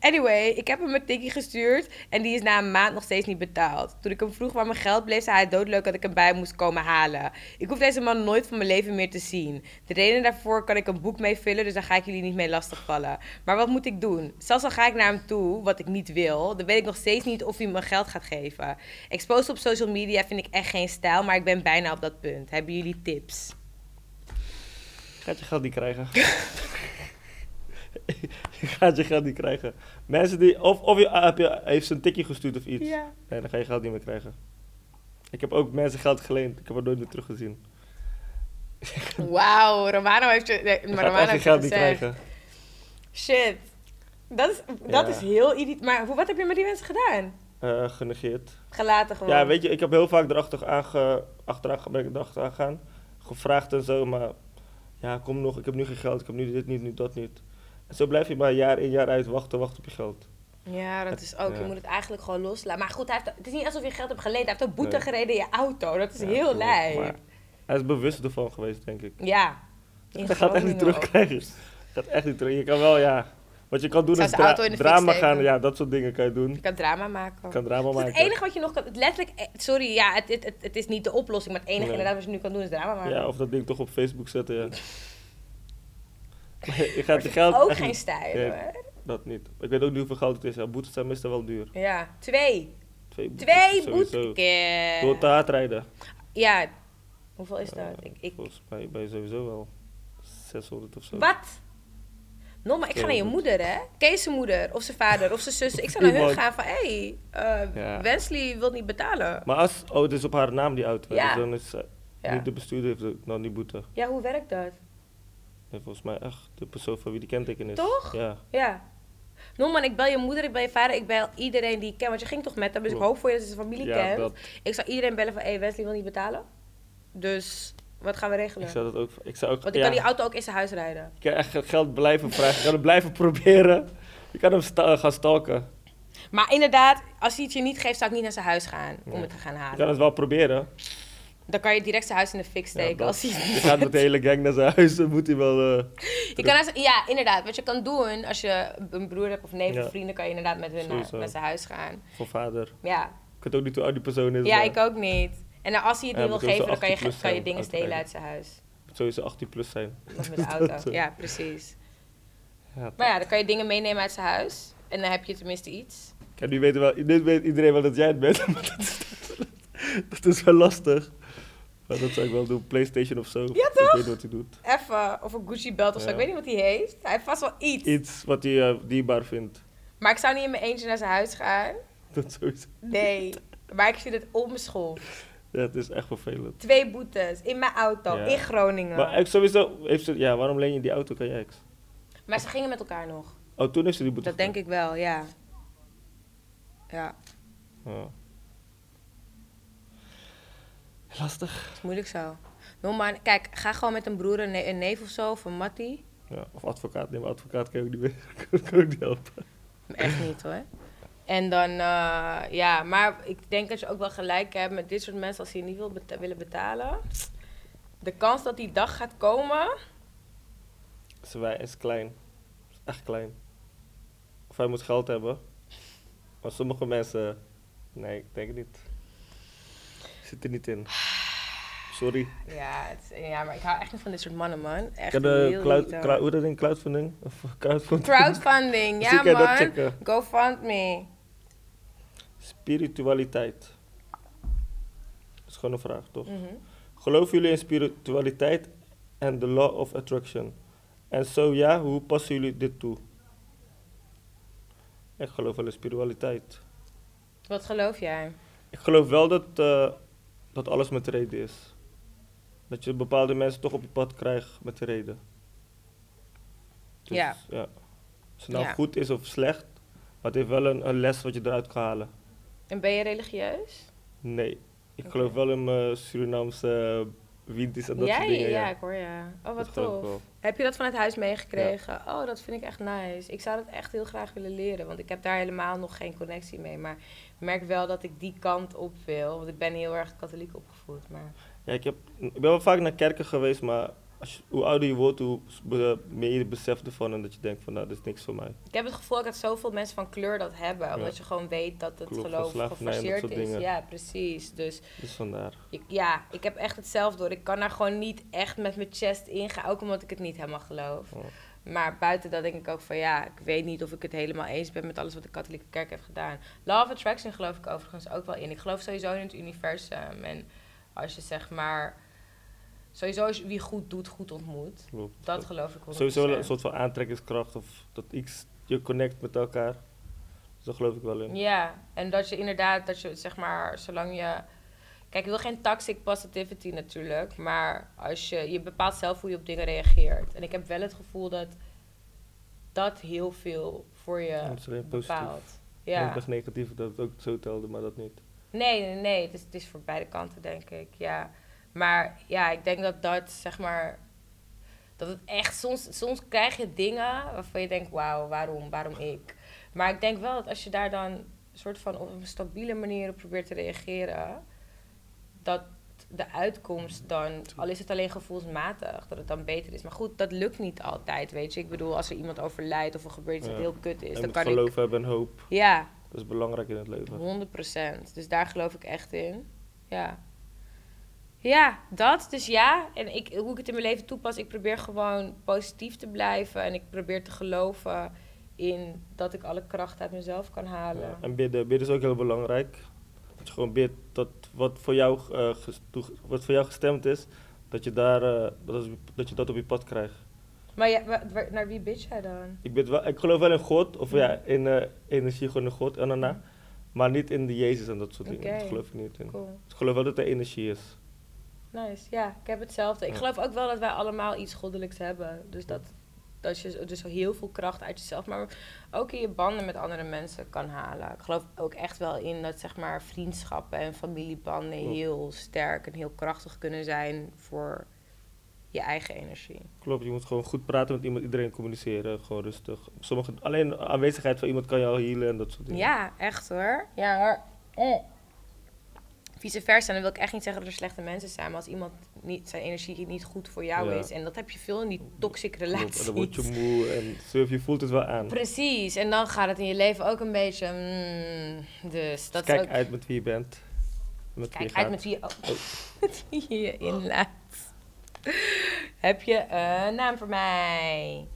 B: Anyway, ik heb hem een tikkie gestuurd en die is na een maand nog steeds niet betaald. Toen ik hem vroeg waar mijn geld bleef, zei hij doodleuk dat ik hem bij moest komen halen. Ik hoef deze man nooit van mijn leven meer te zien. De reden daarvoor kan ik een boek mee vullen, dus daar ga ik jullie niet mee lastigvallen. Maar wat moet ik doen? Zelfs al ga ik naar hem toe, wat ik niet wil, dan weet ik nog steeds niet of hij me geld gaat geven. Exposed op social media vind ik echt geen stijl, maar ik ben bijna op dat punt. Hebben jullie tips?
A: Gaat je geld niet krijgen. je gaat je geld niet krijgen. Mensen die. Of, of je, heb je heeft ze een tikje gestuurd of iets.
B: Ja.
A: Nee, dan ga je geld niet meer krijgen. Ik heb ook mensen geld geleend. Ik heb het nooit meer teruggezien.
B: Wauw, Romano heeft je. Nee,
A: Je
B: maar
A: gaat
B: Romano
A: echt je
B: heeft
A: geld niet
B: het gezegd.
A: krijgen.
B: Shit. Dat is, dat
A: Ja.
B: is heel irritant. Maar hoe- wat heb je met die mensen gedaan?
A: Eh, genegeerd.
B: Gelaten gewoon.
A: Ja, weet je, ik heb heel vaak erachter aange, achteraan, ge- ben ik erachteraan gegaan. Gevraagd en zo, maar ja, kom nog, ik heb nu geen geld, ik heb nu dit niet, nu dat niet. En zo blijf je maar jaar in jaar uit wachten, wachten op je geld.
B: Ja, dat is ook. Je
A: Ja.
B: moet het eigenlijk gewoon loslaten. Maar goed, hij heeft, het is niet alsof je geld hebt geleend. Hij heeft ook boete
A: Nee.
B: gereden in je auto. Dat is
A: Ja,
B: heel
A: klopt,
B: lijp.
A: maar Hij is bewust ervan geweest, denk ik.
B: Ja. In
A: Dat gaat echt niet
B: Groningen ook.
A: terugkrijgen. Dat gaat echt niet terug. Je kan wel, ja. Wat je kan doen
B: Zou
A: is
B: zijn
A: dra-
B: auto in de fik
A: drama
B: steken?
A: gaan, ja, dat soort dingen kan je doen.
B: Je kan drama maken.
A: Je kan drama
B: Dat is
A: maken.
B: het enige wat je nog kan... Letterlijk, eh, sorry, ja, het, het, het, het is niet de oplossing. Maar het enige
A: Nee.
B: inderdaad wat je nu kan doen is drama maken.
A: Ja, of dat ding toch op Facebook zetten, ja. Maar je gaat je geld
B: ook
A: echt
B: geen
A: niet-
B: stijl,
A: Nee,
B: hoor.
A: Dat niet. Ik weet ook niet hoeveel geld het is. Ja, boetes zijn meestal wel duur.
B: Ja, twee.
A: Twee boetes.
B: Twee
A: sowieso.
B: boetes.
A: Door te hard rijden.
B: Ja, hoeveel is dat?
A: Eh,
B: Ik, ik,
A: Volgens mij ben je sowieso wel 600 of zo.
B: wat? No, maar ik ga naar je
A: Heel goed.
B: moeder, hè? Kees' zijn moeder, of zijn vader, of zijn zus. Ik zou naar hun
A: Iemand.
B: gaan van, hé, hey, eh,
A: Ja.
B: Wensley wil niet betalen.
A: Maar als, oh, het is op haar naam die auto.
B: Ja.
A: Dus dan is ze-
B: Ja.
A: niet de bestuurder heeft ook dan die boete.
B: Ja, hoe werkt dat?
A: En volgens mij echt de persoon van wie die kenteken is.
B: Toch?
A: Ja.
B: Ja. No, man, ik bel je moeder, ik bel je vader, ik bel iedereen die ik ken. Want je ging toch met hem, dus ik
A: Klopt.
B: hoop voor je dat ze zijn familie
A: Ja,
B: kent.
A: dat.
B: Ik zou iedereen bellen van, hé, hey, Wensley wil niet betalen. Dus, wat gaan we regelen?
A: Ik zou dat ook. Ik zou ook.
B: Want ik
A: ja,
B: kan die auto ook in zijn huis rijden.
A: je kan echt het geld blijven vragen. Je kan het blijven proberen. Je kan hem sta- eh, gaan stalken.
B: Maar inderdaad, als hij het je niet geeft, zou ik niet naar zijn huis gaan om
A: Nee.
B: het te gaan
A: Je
B: halen.
A: kan het wel proberen.
B: Dan kan je direct zijn huis in de fik
A: Ja,
B: steken
A: dat-
B: als hij het
A: je
B: niet
A: gaat met de hele gang naar zijn huis. Dan moet hij wel. eh,
B: Je kan als- ja, inderdaad. Wat je kan doen als je een broer hebt of neef
A: Ja.
B: of vrienden, kan je inderdaad met hun naar,
A: Sowieso.
B: naar zijn huis gaan.
A: voor vader.
B: Ja,
A: Ik weet ook niet hoe oud die persoon is.
B: ja
A: maar
B: ik ook niet. En dan als hij het
A: Ja,
B: niet
A: maar
B: wil
A: toen ze
B: geven, dan kan je,
A: 18 plus
B: kan je
A: zijn,
B: dingen stelen
A: uitrijden.
B: uit zijn huis.
A: het moet Sowieso 18 plus zijn.
B: Of met de
A: Dat,
B: auto.
A: eh,
B: Ja, precies.
A: ja,
B: Maar ja, dan kan je dingen meenemen uit zijn huis. En dan heb je tenminste iets.
A: Kijk, nu, weten wel, nu weet iedereen wel dat jij het bent, maar dat is, dat is wel lastig. Maar dat zou ik wel doen, Playstation of zo.
B: Ja,
A: Ik
B: toch?
A: weet niet wat hij doet.
B: Even, of een Gucci belt of zo.
A: Ja.
B: Ik weet niet wat hij heeft. Hij heeft vast wel iets.
A: Iets wat hij eh, dierbaar vindt.
B: Maar ik zou niet in mijn eentje naar zijn huis gaan.
A: Dat sowieso.
B: Nee. Maar ik zie het om school.
A: Ja, het is echt vervelend.
B: Twee boetes in mijn auto,
A: Ja.
B: in Groningen.
A: Maar ex sowieso heeft ze... Ja, waarom leen je die auto kan je ex?
B: Maar ze gingen met elkaar nog.
A: Oh, toen heeft ze die boete
B: Dat denk ik wel, ja. Ja,
A: Ja. Lastig.
B: het is moeilijk zo. Noem maar, kijk, ga gewoon met een broer, een, ne- een neef of zo, of een mattie.
A: Ja, of advocaat. Nee, maar advocaat kan je ook niet, meer, kan ook niet helpen.
B: Echt niet hoor. En dan, eh, ja, maar ik denk dat je ook wel gelijk hebt met dit soort mensen als die niet wil beta- willen betalen. De kans dat die dag gaat komen,
A: Ze wij is klein. Is echt klein. Of hij moet geld hebben. Maar sommige mensen... Nee, ik denk het niet. Zit er niet in. Sorry.
B: ja, het is- ja, maar ik hou echt niet van dit soort mannen, man. Echt
A: Ken de
B: heel
A: cloud,
B: niet, hoor.
A: crowd- hoe dat in crowdfunding? Of crowdfunding?
B: Crowdfunding,
A: Misschien kan
B: ja
A: je dat
B: man.
A: checken.
B: GoFundMe.
A: Spiritualiteit. Dat is gewoon een vraag, toch?
B: Mhm.
A: Geloven jullie in spiritualiteit en de law of attraction? En zo ja, hoe passen jullie dit toe? Ik geloof wel in spiritualiteit.
B: Wat geloof jij?
A: Ik geloof wel dat, eh, dat alles met reden is. Dat je bepaalde mensen toch op je pad krijgt met reden. Dus,
B: Ja.
A: Of het nou
B: Ja.
A: goed is of slecht, maar het heeft wel een, een les wat je eruit kan halen.
B: En ben je religieus?
A: Nee, ik geloof wel in mijn Surinaamse eh, windis en dat
B: ja,
A: soort dingen.
B: ja, ik hoor ja. Oh,
A: Dat
B: wat
A: geloof ik
B: tof.
A: wel.
B: Heb je dat van het huis meegekregen? Oh, dat vind ik echt nice. Ik zou dat echt heel graag willen leren, want ik heb daar helemaal nog geen connectie mee. Maar ik merk wel dat ik die kant op wil, want ik ben heel erg katholiek opgevoed. Maar
A: Ja, ik, heb, ik ben wel vaak naar kerken geweest, maar als je- hoe ouder je wordt, hoe s- be- meer je beseft ervan en dat je denkt van, nou, dit is niks voor mij.
B: ik heb het gevoel dat zoveel mensen van kleur dat hebben, omdat
A: Ja.
B: je gewoon weet dat het
A: Klopt,
B: geloof
A: van slavernij en dat
B: geforceerd
A: soort
B: is.
A: dingen.
B: Ja, precies. Dus
A: Dus vandaar.
B: ik, ja, ik heb echt hetzelfde door. Ik kan daar gewoon niet echt met mijn chest in gaan, ook omdat ik het niet helemaal geloof.
A: Oh.
B: Maar buiten dat denk ik ook van ja, ik weet niet of ik het helemaal eens ben met alles wat de katholieke kerk heeft gedaan. Law of Attraction geloof ik overigens ook wel in. Ik geloof sowieso in het universum. En als je zeg maar, sowieso als je wie goed doet, goed ontmoet.
A: Klopt.
B: Dat geloof ik wel.
A: Sowieso wel een soort van aantrekkingskracht of dat iets je connect met elkaar. Dus daar geloof ik wel in.
B: Ja, en dat je inderdaad, dat je zeg maar, zolang je... Kijk, ik wil geen toxic positivity natuurlijk, maar als je, je bepaalt zelf hoe je op dingen reageert. En ik heb wel het gevoel dat dat heel veel voor je
A: Dat is alleen positief.
B: bepaalt.
A: Ik
B: Ja.
A: dacht negatief dat het ook zo telde, maar dat niet.
B: Nee, nee, nee, het is, het is voor beide kanten denk ik, ja. Maar ja, ik denk dat dat zeg maar... Dat het echt, soms, soms krijg je dingen waarvan je denkt, wauw, waarom, waarom ik? Maar ik denk wel dat als je daar dan een soort van op een stabiele manier op probeert te reageren, dat de uitkomst dan, al is het alleen gevoelsmatig, dat het dan beter is. Maar goed, dat lukt niet altijd, weet je. Ik bedoel, als er iemand overlijdt of er gebeurt iets dat
A: Ja.
B: heel kut is,
A: en
B: dan
A: moet
B: kan
A: geloof
B: ik...
A: hebben en hoop.
B: Ja,
A: Dat is belangrijk in het leven.
B: 100%. Dus daar geloof ik echt in. Ja. Ja, dat. Dus ja. En ik, hoe ik het in mijn leven toepas, ik probeer gewoon positief te blijven. En ik probeer te geloven in dat ik alle kracht uit mezelf kan halen.
A: Ja, En bidden. Bidden is ook heel belangrijk. Dat je gewoon bidt dat wat voor jou, eh, ges- toege- wat voor jou gestemd is, dat je, daar, eh, dat, is- dat je dat op je pad krijgt.
B: Maar, ja, wa- wa- naar wie bid jij dan?
A: Ik, bid wel, ik geloof wel in God, of ja,
B: Mm.
A: in, eh in de gewoon in God, anana, maar niet in de Jezus en dat soort dingen.
B: Oké.
A: Dat geloof ik niet in.
B: Cool.
A: Ik geloof wel dat er energie is.
B: Nice. Ja, ik heb hetzelfde. Ik
A: Ja.
B: geloof ook wel dat wij allemaal iets goddelijks hebben. Dus dat, dat je dus heel veel kracht uit jezelf, maar ook in je banden met andere mensen kan halen. Ik geloof ook echt wel in dat zeg maar, vriendschappen en familiebanden
A: Klopt.
B: heel sterk en heel krachtig kunnen zijn voor je eigen energie.
A: Klopt, je moet gewoon goed praten met iemand, iedereen communiceren, gewoon rustig. Sommige, alleen aanwezigheid van iemand kan je al healen en dat soort dingen.
B: Ja, echt hoor. Ja hoor. Eh. Vice versa, dan wil ik echt niet zeggen dat er slechte mensen zijn, maar als iemand niet, zijn energie niet goed voor jou
A: Ja.
B: is, en dat heb je veel in die toxic
A: Klopt,
B: relaties.
A: en dan word je moe en surf, je voelt het wel aan.
B: Precies, en dan gaat het in je leven ook een beetje. mm, dus dat
A: Dus kijk
B: is ook.
A: uit met wie je bent. Met wie
B: kijk
A: je
B: uit
A: gaat.
B: met wie je, oh, met wie je je inlaat. Heb je een naam voor mij?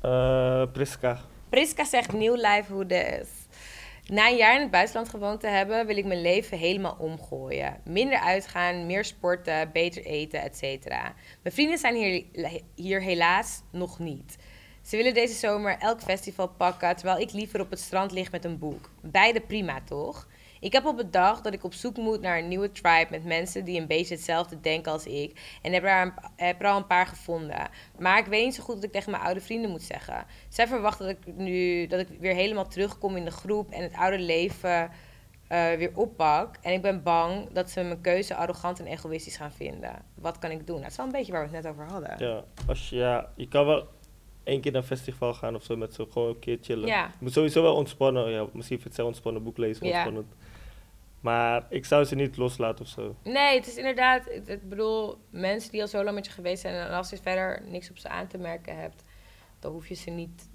A: Eh, Priska.
B: Priska zegt nieuw life hoe dus. Na een jaar in het buitenland gewoond te hebben, wil ik mijn leven helemaal omgooien. Minder uitgaan, meer sporten, beter eten, et cetera. Mijn vrienden zijn hier, hier helaas nog niet. Ze willen deze zomer elk festival pakken, terwijl ik liever op het strand lig met een boek. Beide prima, toch? Ik heb al bedacht dat ik op zoek moet naar een nieuwe tribe met mensen die een beetje hetzelfde denken als ik. En heb er, een, heb er al een paar gevonden. Maar ik weet niet zo goed wat ik tegen mijn oude vrienden moet zeggen. Zij verwachten dat ik nu dat ik weer helemaal terugkom in de groep en het oude leven eh, weer oppak. En ik ben bang dat ze mijn keuze arrogant en egoïstisch gaan vinden. Wat kan ik doen? Nou, Dat is wel een beetje waar we het net over hadden.
A: Ja, als je, ja, je kan wel één keer naar een festival gaan of zo met ze, gewoon een keer chillen.
B: Ja.
A: Je moet sowieso wel ontspannen. Ja, misschien vindt zij ontspannen, boek lezen
B: Ja.
A: ontspannend. Maar ik zou ze niet loslaten of zo.
B: Nee, het is inderdaad. Ik ik bedoel, mensen die al zo lang met je geweest zijn en als je verder niks op ze aan te merken hebt, dan hoef je ze niet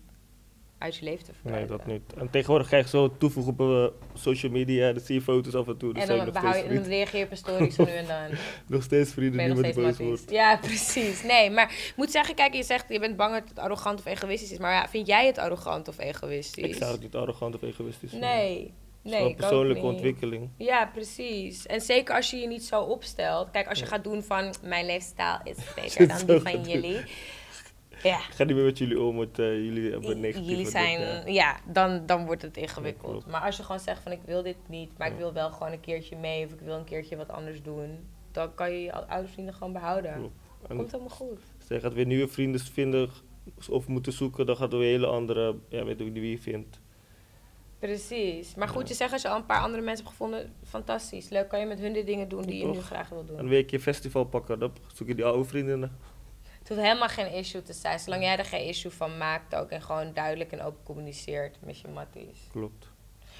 B: uit je leven te
A: Nee,
B: verwijderen.
A: dat niet. En tegenwoordig krijg je zo toevoegen op eh, social media, dan zie je foto's af en toe. Dan
B: En
A: zijn
B: dan,
A: nog
B: behoud
A: steeds
B: je, dan
A: vrienden.
B: reageer je op een story zo nu en dan.
A: Nog steeds
B: Ben
A: vrienden,
B: je nog
A: niemand
B: steeds
A: die boos
B: matties.
A: wordt.
B: Ja, precies. Nee, maar ik moet zeggen, kijk, je zegt je bent bang dat het arrogant of egoïstisch is. Maar ja, vind jij het arrogant of egoïstisch?
A: Ik zou het niet arrogant of egoïstisch vinden.
B: Nee.
A: Het is wel
B: Nee,
A: een
B: ik ook
A: persoonlijke
B: niet.
A: ontwikkeling.
B: Ja, precies. En zeker als je je niet zo opstelt. Kijk, als je gaat doen van mijn leefstijl is beter dan die van jullie. Ja.
A: Ik ga niet meer met jullie om, want eh, jullie hebben negatief.
B: Jullie zijn, ja, dan, dan wordt het ingewikkeld.
A: Ja, klopt.
B: maar als je gewoon zegt van ik wil dit niet, maar ik wil wel gewoon een keertje mee of ik wil een keertje wat anders doen, dan kan je je ou- oude vrienden gewoon behouden.
A: Klopt. En-
B: eh, Komt helemaal goed.
A: Als je gaat weer nieuwe vrienden vinden of moeten zoeken, dan gaat er weer hele andere, ja, weet ik niet wie je vindt.
B: Precies. Maar goed, je zegt als je al een paar andere mensen hebt gevonden, fantastisch. Leuk, kan je met hun de dingen doen die je nu
A: Toch.
B: graag wil doen.
A: En weer een keer festival pakken, dan zoek je die oude vrienden.
B: Het hoeft helemaal geen issue te zijn, zolang jij er geen issue van maakt ook en gewoon duidelijk en open communiceert met je matties.
A: Klopt.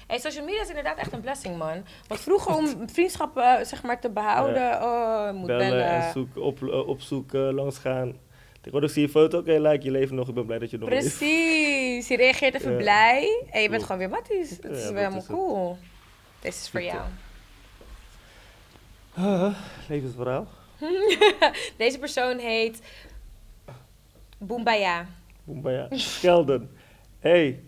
B: Hey, social media is inderdaad echt een blessing, man. Want vroeger om vriendschappen eh, zeg maar, te behouden, oh, je moet bellen.
A: en zoeken, op, eh, opzoeken, langsgaan. Tegenwoordig zie je foto, oké, like, je leven nog, ik ben blij dat je nog leeft.
B: Precies, je reageert even
A: Ja.
B: blij en je
A: Klopt.
B: bent gewoon weer matties. Dat is
A: Ja,
B: wel
A: dat
B: helemaal
A: is het.
B: cool. Deze is voor
A: Super.
B: jou.
A: Ah, levensverhaal.
B: Deze persoon heet Boombaya.
A: Boem, maar ja. Gelden. hey,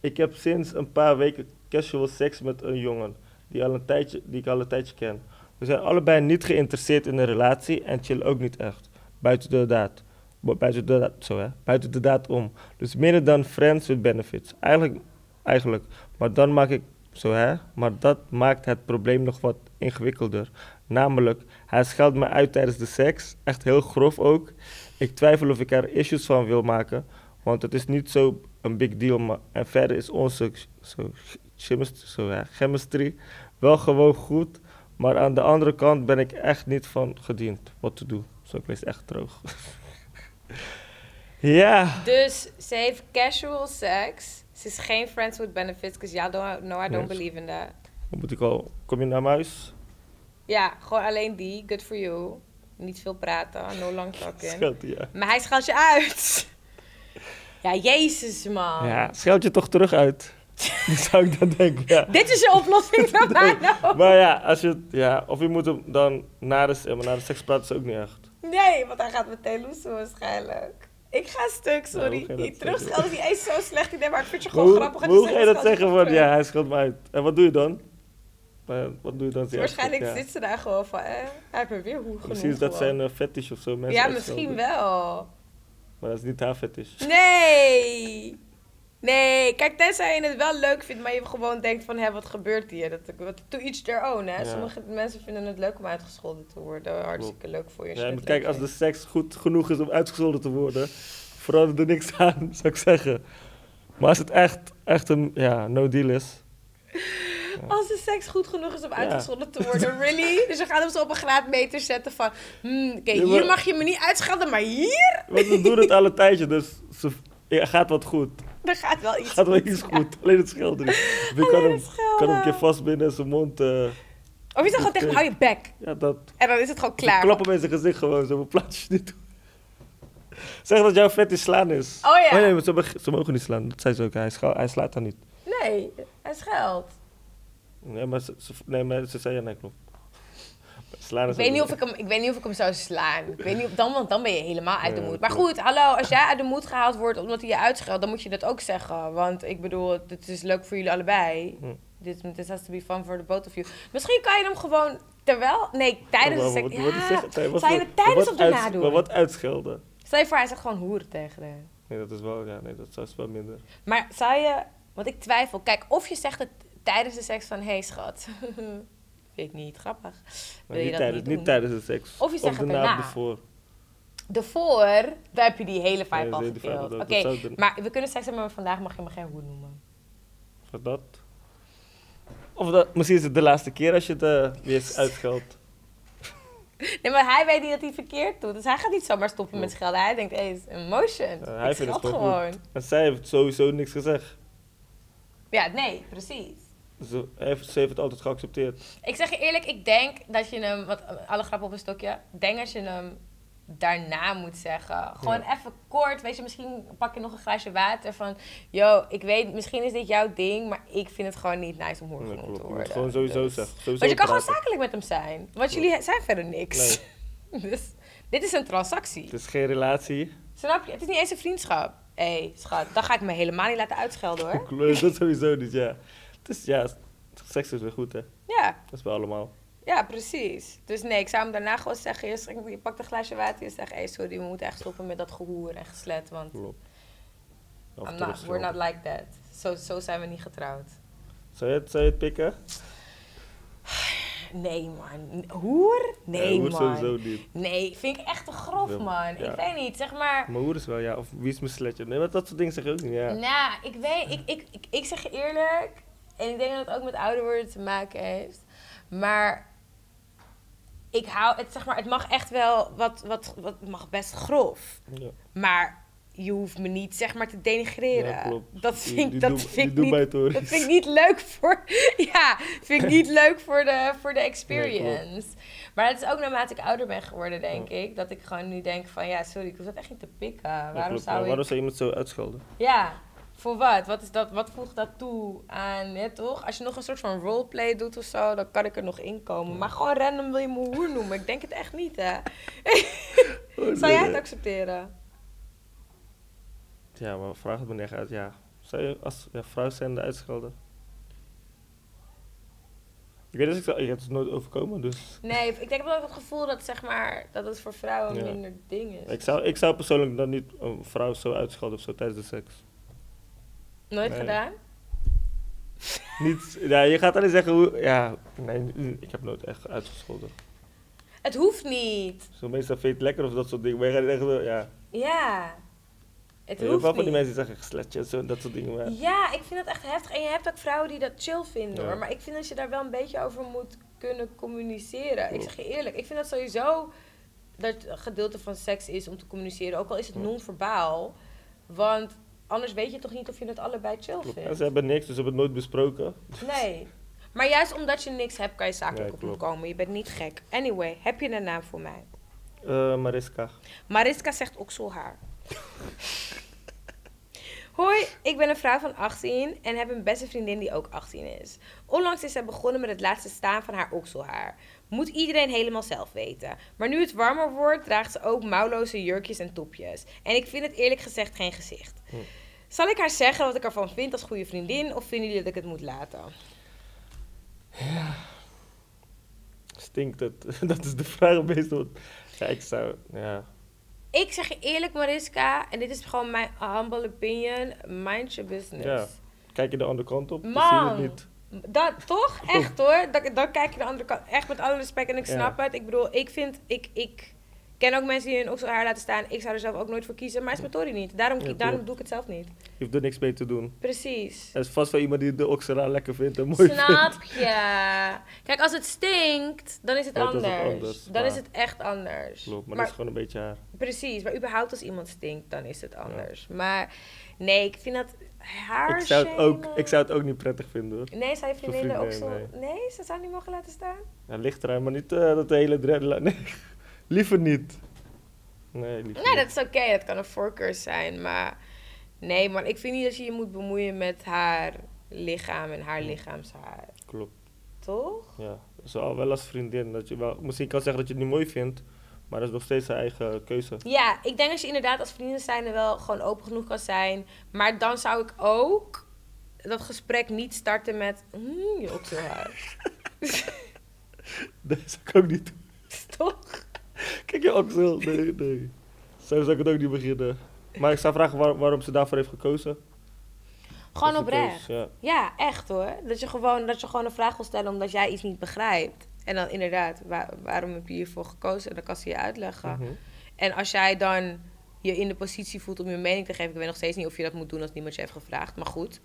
A: ik heb sinds een paar weken casual seks met een jongen die, al een tijdje, die ik al een tijdje ken. We zijn allebei niet geïnteresseerd in een relatie en chillen ook niet echt. Buiten de daad. Bu- Buiten de daad, zo hè. Buiten de daad om. Dus minder dan friends with benefits. Eigenlijk, eigenlijk. Maar dan maak ik, zo hè. Maar dat maakt het probleem nog wat ingewikkelder. Namelijk, hij scheldt me uit tijdens de seks. Echt heel grof ook. Ik twijfel of ik er issues van wil maken, want het is niet zo een big deal. Maar, en verder is onze ch- zo, chemist- zo, ja, chemistry wel gewoon goed, maar aan de andere kant ben ik echt niet van gediend wat te doen. Zo, ik lees echt droog. ja,
B: Dus ze heeft casual sex. Ze is geen friends with benefits, because y'all don't, no, I don't
A: Nee.
B: believe in that.
A: dan moet ik al. Kom je naar mijn huis?
B: Ja, gewoon alleen die. Good for you. Niet veel praten, no long talking.
A: Scheld, ja.
B: Maar hij schaalt je uit. Ja, jezus man.
A: ja, scheld je toch terug uit? Dan zou ik dan denken, ja.
B: Dit is je oplossing voor mij nou.
A: Maar ja, als je, ja, of je moet hem dan na de, se- maar na de seks praten is ook niet echt.
B: Nee, want hij gaat meteen loesten waarschijnlijk. Ik ga stuk,
A: Nou, hoe ga
B: sorry.
A: je
B: Die
A: dat
B: terugschelden is niet eens zo slecht idee, maar ik vind je
A: Maar
B: gewoon
A: hoe,
B: grappig. en
A: maar hoe
B: die
A: ga je dat
B: scheld
A: zeggen van,
B: terug.
A: ja, hij schat me uit. En wat doe je dan? Eh, wat doe je dan? als hij
B: Waarschijnlijk
A: uitscheldt?
B: zit ze daar gewoon van, eh, hij heeft me weer hoe genoemd.
A: Misschien is dat
B: gewoon.
A: zijn eh, fetish of zo. Mensen
B: Ja, misschien
A: uitschelden.
B: wel.
A: Maar dat is niet haar fetish.
B: Nee! Nee, kijk, tenzij je het wel leuk vindt, maar je gewoon denkt van, hé, wat gebeurt hier? Dat, wat, to each their own, hè?
A: Ja.
B: Sommige mensen vinden het leuk om uitgescholden te worden. Hartstikke leuk voor je.
A: Ja,
B: je
A: je moet
B: het
A: kijken,
B: leuk
A: als de seks goed genoeg is om uitgescholden te worden, verandert er niks aan, zou ik zeggen. Maar als het echt, echt een ja, no deal is.
B: Als de seks goed genoeg is om
A: Ja.
B: uitgescholden te worden, really? Dus we gaan hem zo op een graadmeter zetten van... hmm, Oké,
A: Ja,
B: hier
A: maar-
B: mag je me niet uitschelden, maar hier?
A: Want we doen het al een tijdje, dus ze, ja, gaat wat goed.
B: Er gaat wel iets
A: Gaat wel
B: goed.
A: iets goed. Alleen het schelden niet. Ik kan
B: Alleen
A: hem,
B: het schelden.
A: kan hem een keer vastbinden en zijn mond. eh,
B: Of je zegt gewoon tegen hem, hou je bek.
A: ja, dat,
B: En dan is het gewoon
A: Klaar.
B: klaar.
A: Klappen met zijn gezicht gewoon, zo mijn plaatjes niet doen. Zeg dat jouw vet is slaan is.
B: Oh ja.
A: Nee, nee, maar ze, mag- ze mogen niet slaan. Dat zei ze ook. Hij, scha- hij slaat haar niet.
B: Nee, hij scheldt.
A: Nee, maar ze, ze- nee, maar ze zei ja, nee, klopt. Slaan
B: Ik
A: is
B: weet,
A: ook
B: niet of
A: niet.
B: ik, hem, ik weet niet of ik hem zou slaan. Ik weet niet of, dan, want dan ben je helemaal uit de
A: Ja,
B: moed. Maar
A: klopt.
B: goed, hallo, als jij uit de moed gehaald wordt omdat hij je uitscheldt, dan moet je dat ook zeggen. Want ik bedoel, het is leuk voor jullie allebei.
A: Hm.
B: Dit This, has to be fun for the both of you. Misschien kan je hem gewoon terwijl... Nee, tijdens de
A: Maar
B: seks...
A: wat- wat- wat
B: Ja,
A: zeg je? Wat-
B: zou je
A: wat-
B: het tijdens
A: wat
B: of
A: uit-
B: daarna doen?
A: Maar wat uitschelden?
B: Stel je voor, hij zegt gewoon hoer tegen haar.
A: Nee, dat is wel, ja, nee, dat is wel minder.
B: Maar zou je... Want ik twijfel. Kijk, of je zegt het tijdens de seks van... Hé hey, schat, vind ik niet grappig.
A: Maar
B: Wil je
A: niet,
B: dat
A: tijdens,
B: niet
A: niet
B: doen?
A: tijdens de seks.
B: Of je zegt
A: de
B: het
A: naam
B: erna.
A: ervoor.
B: Daarvoor, daar heb je die hele vibe
A: Ja,
B: al
A: de hele vibe
B: gedeeld.
A: al,
B: Oké,
A: dat zou doen.
B: maar we kunnen seks hebben, maar vandaag mag je me geen hoe noemen.
A: Of dat. Of dat, misschien is het de laatste keer als je het eh, weer uitscheldt.
B: Nee, maar hij weet niet dat hij verkeerd doet. Dus hij gaat niet zomaar stoppen met
A: Klopt.
B: schelden. Hij denkt, hé, hey, het is emotion.
A: Ja,
B: hij
A: hij vindt
B: ik
A: het
B: scheld
A: toch
B: gewoon.
A: En zij heeft sowieso niks gezegd.
B: Ja, nee, precies.
A: Ze heeft, ze heeft het altijd geaccepteerd.
B: Ik zeg je eerlijk, ik denk dat je hem, wat alle grappen op een stokje, ik denk dat je hem daarna moet zeggen. Gewoon even kort, weet je, misschien pak je nog een glaasje water van, yo, ik weet, misschien is dit jouw ding, maar ik vind het gewoon niet nice om hoer
A: Nee,
B: genoemd
A: klopt.
B: te
A: Je
B: worden.
A: moet het gewoon sowieso
B: Dus-
A: zeggen. Sowieso
B: Want je kan gewoon
A: praten.
B: zakelijk met hem zijn, want jullie zijn verder niks. dus dit is een transactie.
A: Het is geen relatie.
B: Snap je? Het is niet eens een vriendschap. Hé, hey, schat, dan ga ik me helemaal niet laten uitschelden hoor.
A: Kleur, dat sowieso niet, ja. Het is, ja, seks is weer goed, hè.
B: Ja,
A: Dat is bij allemaal.
B: Ja, precies. Dus nee, ik zou hem daarna gewoon zeggen: je, schenkt- je pakt een glaasje water en je zegt: hey, sorry, we moeten echt stoppen met dat gehoer en geslet. Want
A: Klopt. Of
B: I'm not, we're
A: terugschelden.
B: not like that. Zo, zo zijn we niet getrouwd.
A: Zou je het, zou je het pikken?
B: Nee, man. Hoer? Nee,
A: hoer
B: man.
A: sowieso niet.
B: Nee, vind ik echt te grof,
A: Ja,
B: man.
A: ja.
B: Ik weet niet, zeg maar.
A: Maar hoe is wel, ja. Of wie is mijn sletje? Nee, maar dat soort dingen zeg je ook niet, ja.
B: Nou, ik weet, ik, ik, ik, ik zeg je eerlijk, en ik denk dat het ook met ouder worden te maken heeft, maar ik hou het, zeg maar, het mag echt wel, wat, wat, wat het mag best grof.
A: Ja.
B: Maar je hoeft me niet zeg maar te denigreren.
A: Ja, klopt.
B: Dat
A: Die-
B: vind, ik-
A: die
B: dat
A: doen- die
B: vind ik
A: doen
B: niet.
A: mij toch.
B: Dat vind ik niet leuk voor. Ja, vind ik niet leuk voor de, voor de experience. maar het is ook naarmate ik ouder ben geworden, denk ik. Dat ik gewoon nu denk van ja, sorry, ik hoef dat echt niet te pikken.
A: Ja,
B: Waarom
A: klopt,
B: zou
A: maar
B: ik.
A: waarom zou iemand zo uitschelden?
B: Ja, voor wat? Wat, is dat, wat voegt dat toe aan, hè, toch? Als je nog een soort van roleplay doet of zo, dan kan ik er nog inkomen. Maar gewoon random wil je me hoer noemen. Ik denk het echt niet, hè?
A: Oh,
B: Zou jij het accepteren?
A: Ja, maar vraag het me niet uit, ja. Zou je als ja, vrouw zijnde uitschelden? Ik weet dat ik zou- ik heb het nooit overkomen, dus...
B: Nee, ik denk wel ook het gevoel dat, zeg maar, dat het voor vrouwen
A: Ja.
B: minder ding is.
A: Ik zou, ik zou persoonlijk dan niet een vrouw zo uitschelden of zo tijdens de seks.
B: Nooit
A: Nee.
B: gedaan?
A: Niet, ja, je gaat alleen zeggen hoe... Ja, nee, ik heb nooit echt uitgescholden.
B: Het hoeft niet.
A: Zo meestal vind je het lekker of dat soort dingen. Maar je gaat niet echt... zo- Ja,
B: Ja. Het
A: je hebt
B: hoeft
A: wel
B: niet.
A: van die mensen die zeggen gesletje en zo en dat soort dingen. Maar
B: Ja, ik vind dat echt heftig. En je hebt ook vrouwen die dat chill vinden
A: Ja.
B: hoor. Maar ik vind dat je daar wel een beetje over moet kunnen communiceren. Ik
A: Klopt.
B: zeg je eerlijk, ik vind dat sowieso dat een gedeelte van seks is om te communiceren. Ook al is het
A: Ja.
B: non-verbaal. Want anders weet je toch niet of je het allebei chill
A: klopt. En
B: vindt.
A: ze hebben niks, dus ze hebben het nooit besproken.
B: Nee. Maar juist omdat je niks hebt, kan je zakelijk
A: Nee,
B: op hem
A: klopt.
B: komen. Je bent niet gek. Anyway, heb je een naam voor mij?
A: Eh, Mariska.
B: Mariska zegt okselhaar. Hoi, ik ben een vrouw van 18 en heb een beste vriendin die ook 18 is. Onlangs is zij begonnen met het laatste staan van haar okselhaar. Moet iedereen helemaal zelf weten. Maar nu het warmer wordt, draagt ze ook mouwloze jurkjes en topjes. En ik vind het eerlijk gezegd geen gezicht.
A: Hm.
B: Zal ik haar zeggen wat ik ervan vind als goede vriendin of vinden jullie dat ik het moet laten?
A: Stinkt het? dat is de vraag meestal. Ja, ik zou... Ja.
B: Ik zeg je eerlijk Mariska, en dit is gewoon mijn humble opinion, mind your business.
A: Ja. Kijk je de andere kant op, dan zie
B: Man.
A: je het niet.
B: Dat toch? Echt hoor. Dan, dan kijk je de andere kant. Echt met alle respect. En ik
A: Ja.
B: snap het. Ik bedoel, ik vind. Ik, ik ken ook mensen die hun oksel haar laten staan. Ik zou er zelf ook nooit voor kiezen. Maar het is mijn Tory niet. Daarom,
A: Ja, klopt.
B: daarom doe ik het zelf niet.
A: Je hoeft er niks mee te doen.
B: Precies.
A: Er is vast wel iemand die de oksera lekker vindt en mooi vindt.
B: Snap je? Kijk, als het stinkt, dan is het
A: Ja, dan is
B: anders.
A: het anders,
B: Dan
A: maar-
B: is het echt anders.
A: Klopt, maar,
B: Maar-
A: dat is gewoon een beetje haar.
B: Precies. Maar überhaupt als iemand stinkt, dan is het anders. Maar nee, ik vind dat haar.
A: Ik zou, het ook, ik zou het ook niet prettig vinden hoor.
B: Nee, zou je
A: Zo'n
B: vriendin ook
A: vriendin,
B: zo. Nee, ze zou niet mogen laten staan?
A: Ja, ligt eraan, maar niet eh, dat de hele dreadlock. Nee, liever niet. Nee, liever
B: Nee,
A: niet.
B: Nou, dat is oké. Dat kan een voorkeur zijn. Maar nee, man. Ik vind niet dat je je moet bemoeien met haar lichaam en
A: Hm.
B: haar lichaamshaar.
A: Klopt,
B: Toch?
A: ja. Zo, wel als vriendin. Dat je wel, misschien kan zeggen dat je het niet mooi vindt, maar dat is nog steeds haar eigen keuze.
B: Ja, ik denk dat je inderdaad als vrienden zijn er wel gewoon open genoeg kan zijn. Maar dan zou ik ook dat gesprek niet starten met... "Mm, je okselhaar.
A: Dat zou ik ook niet doen.
B: Toch?
A: Kijk je oksel. Nee, nee. Zo zou ik het ook niet beginnen. Maar ik zou vragen waar- waarom ze daarvoor heeft gekozen.
B: Gewoon
A: Dat is de
B: oprecht.
A: keus, ja.
B: Ja, echt hoor. Dat je, gewoon, dat je gewoon een vraag wil stellen omdat jij iets niet begrijpt. En dan inderdaad, wa- waarom heb je hiervoor gekozen? En dan kan ze je uitleggen.
A: Mhm.
B: En als jij dan je in de positie voelt om je mening te geven... Ik weet nog steeds niet of je dat moet doen als niemand je heeft gevraagd. Maar goed,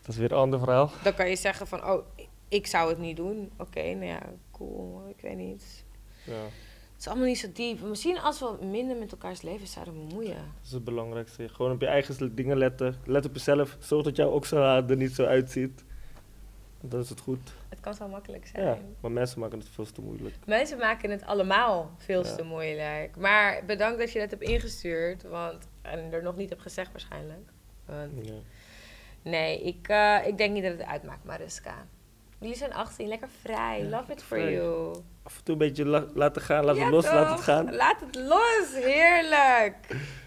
A: Dat is weer een ander verhaal.
B: dan kan je zeggen van... Oh, ik zou het niet doen. Oké, nou ja, cool. Ik weet niet.
A: Ja.
B: Het is allemaal niet zo diep. Misschien als we minder met elkaars levens zouden bemoeien.
A: Dat is het belangrijkste. Gewoon op je eigen dingen letten. Let op jezelf. Zorg dat jouw okselhaar er niet zo uitziet. Dan is het goed.
B: Het kan zo makkelijk zijn.
A: Ja. Maar mensen maken het veel te moeilijk.
B: Mensen maken het allemaal veel
A: Ja.
B: te moeilijk. Maar bedankt dat je dat hebt ingestuurd. Want, en er nog niet hebt gezegd waarschijnlijk. Want,
A: Ja.
B: nee, ik, eh, ik denk niet dat het uitmaakt, Mariska. Jullie zijn 18, lekker vrij.
A: Ja,
B: Love it for
A: vrij.
B: you.
A: Af en toe een beetje la- laten gaan. Laten
B: Ja,
A: los, laten
B: toch?
A: het gaan.
B: Laat het los, heerlijk.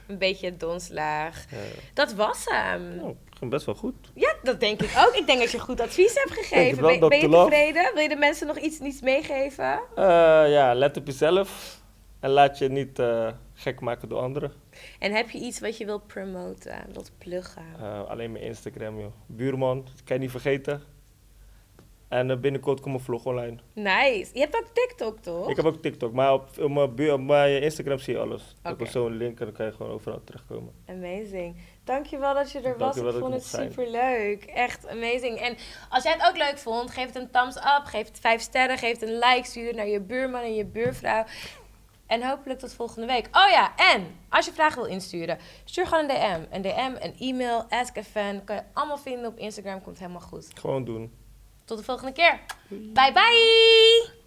B: Een beetje donslaag.
A: Ja.
B: Dat was hem.
A: Nou, ging best wel goed.
B: Ja, dat denk ik ook. Ik denk dat je goed advies hebt gegeven.
A: Dankjewel,
B: Ben, ben je
A: Dr. Love.
B: tevreden? Wil je de mensen nog iets, iets meegeven?
A: Eh, ja, let op jezelf. En laat je niet eh, gek maken door anderen.
B: En heb je iets wat je wilt promoten, wilt pluggen?
A: Eh, alleen mijn Instagram, joh. Buurman, dat kan je niet vergeten. En eh, binnenkort komt mijn vlog online.
B: Nice. Je hebt ook TikTok, toch?
A: Ik heb ook TikTok, maar op, op, mijn, bu- op mijn Instagram zie je alles. Dan
B: Oké.
A: komt zo'n link en dan kan je gewoon overal terechtkomen.
B: Amazing. Dankjewel dat je er was.
A: Dankjewel
B: Ik
A: dat ik
B: vond het
A: mocht zijn.
B: superleuk. Echt amazing. En als jij het ook leuk vond, geef het een thumbs up, geef het vijf sterren, geef het een like, stuur het naar je buurman en je buurvrouw. En hopelijk tot volgende week. Oh ja, en als je vragen wil insturen, stuur gewoon een DM. Een DM, een e-mail, ask a fan. Kan je allemaal vinden op Instagram, komt helemaal goed.
A: Gewoon doen.
B: Tot de volgende keer. Bye bye!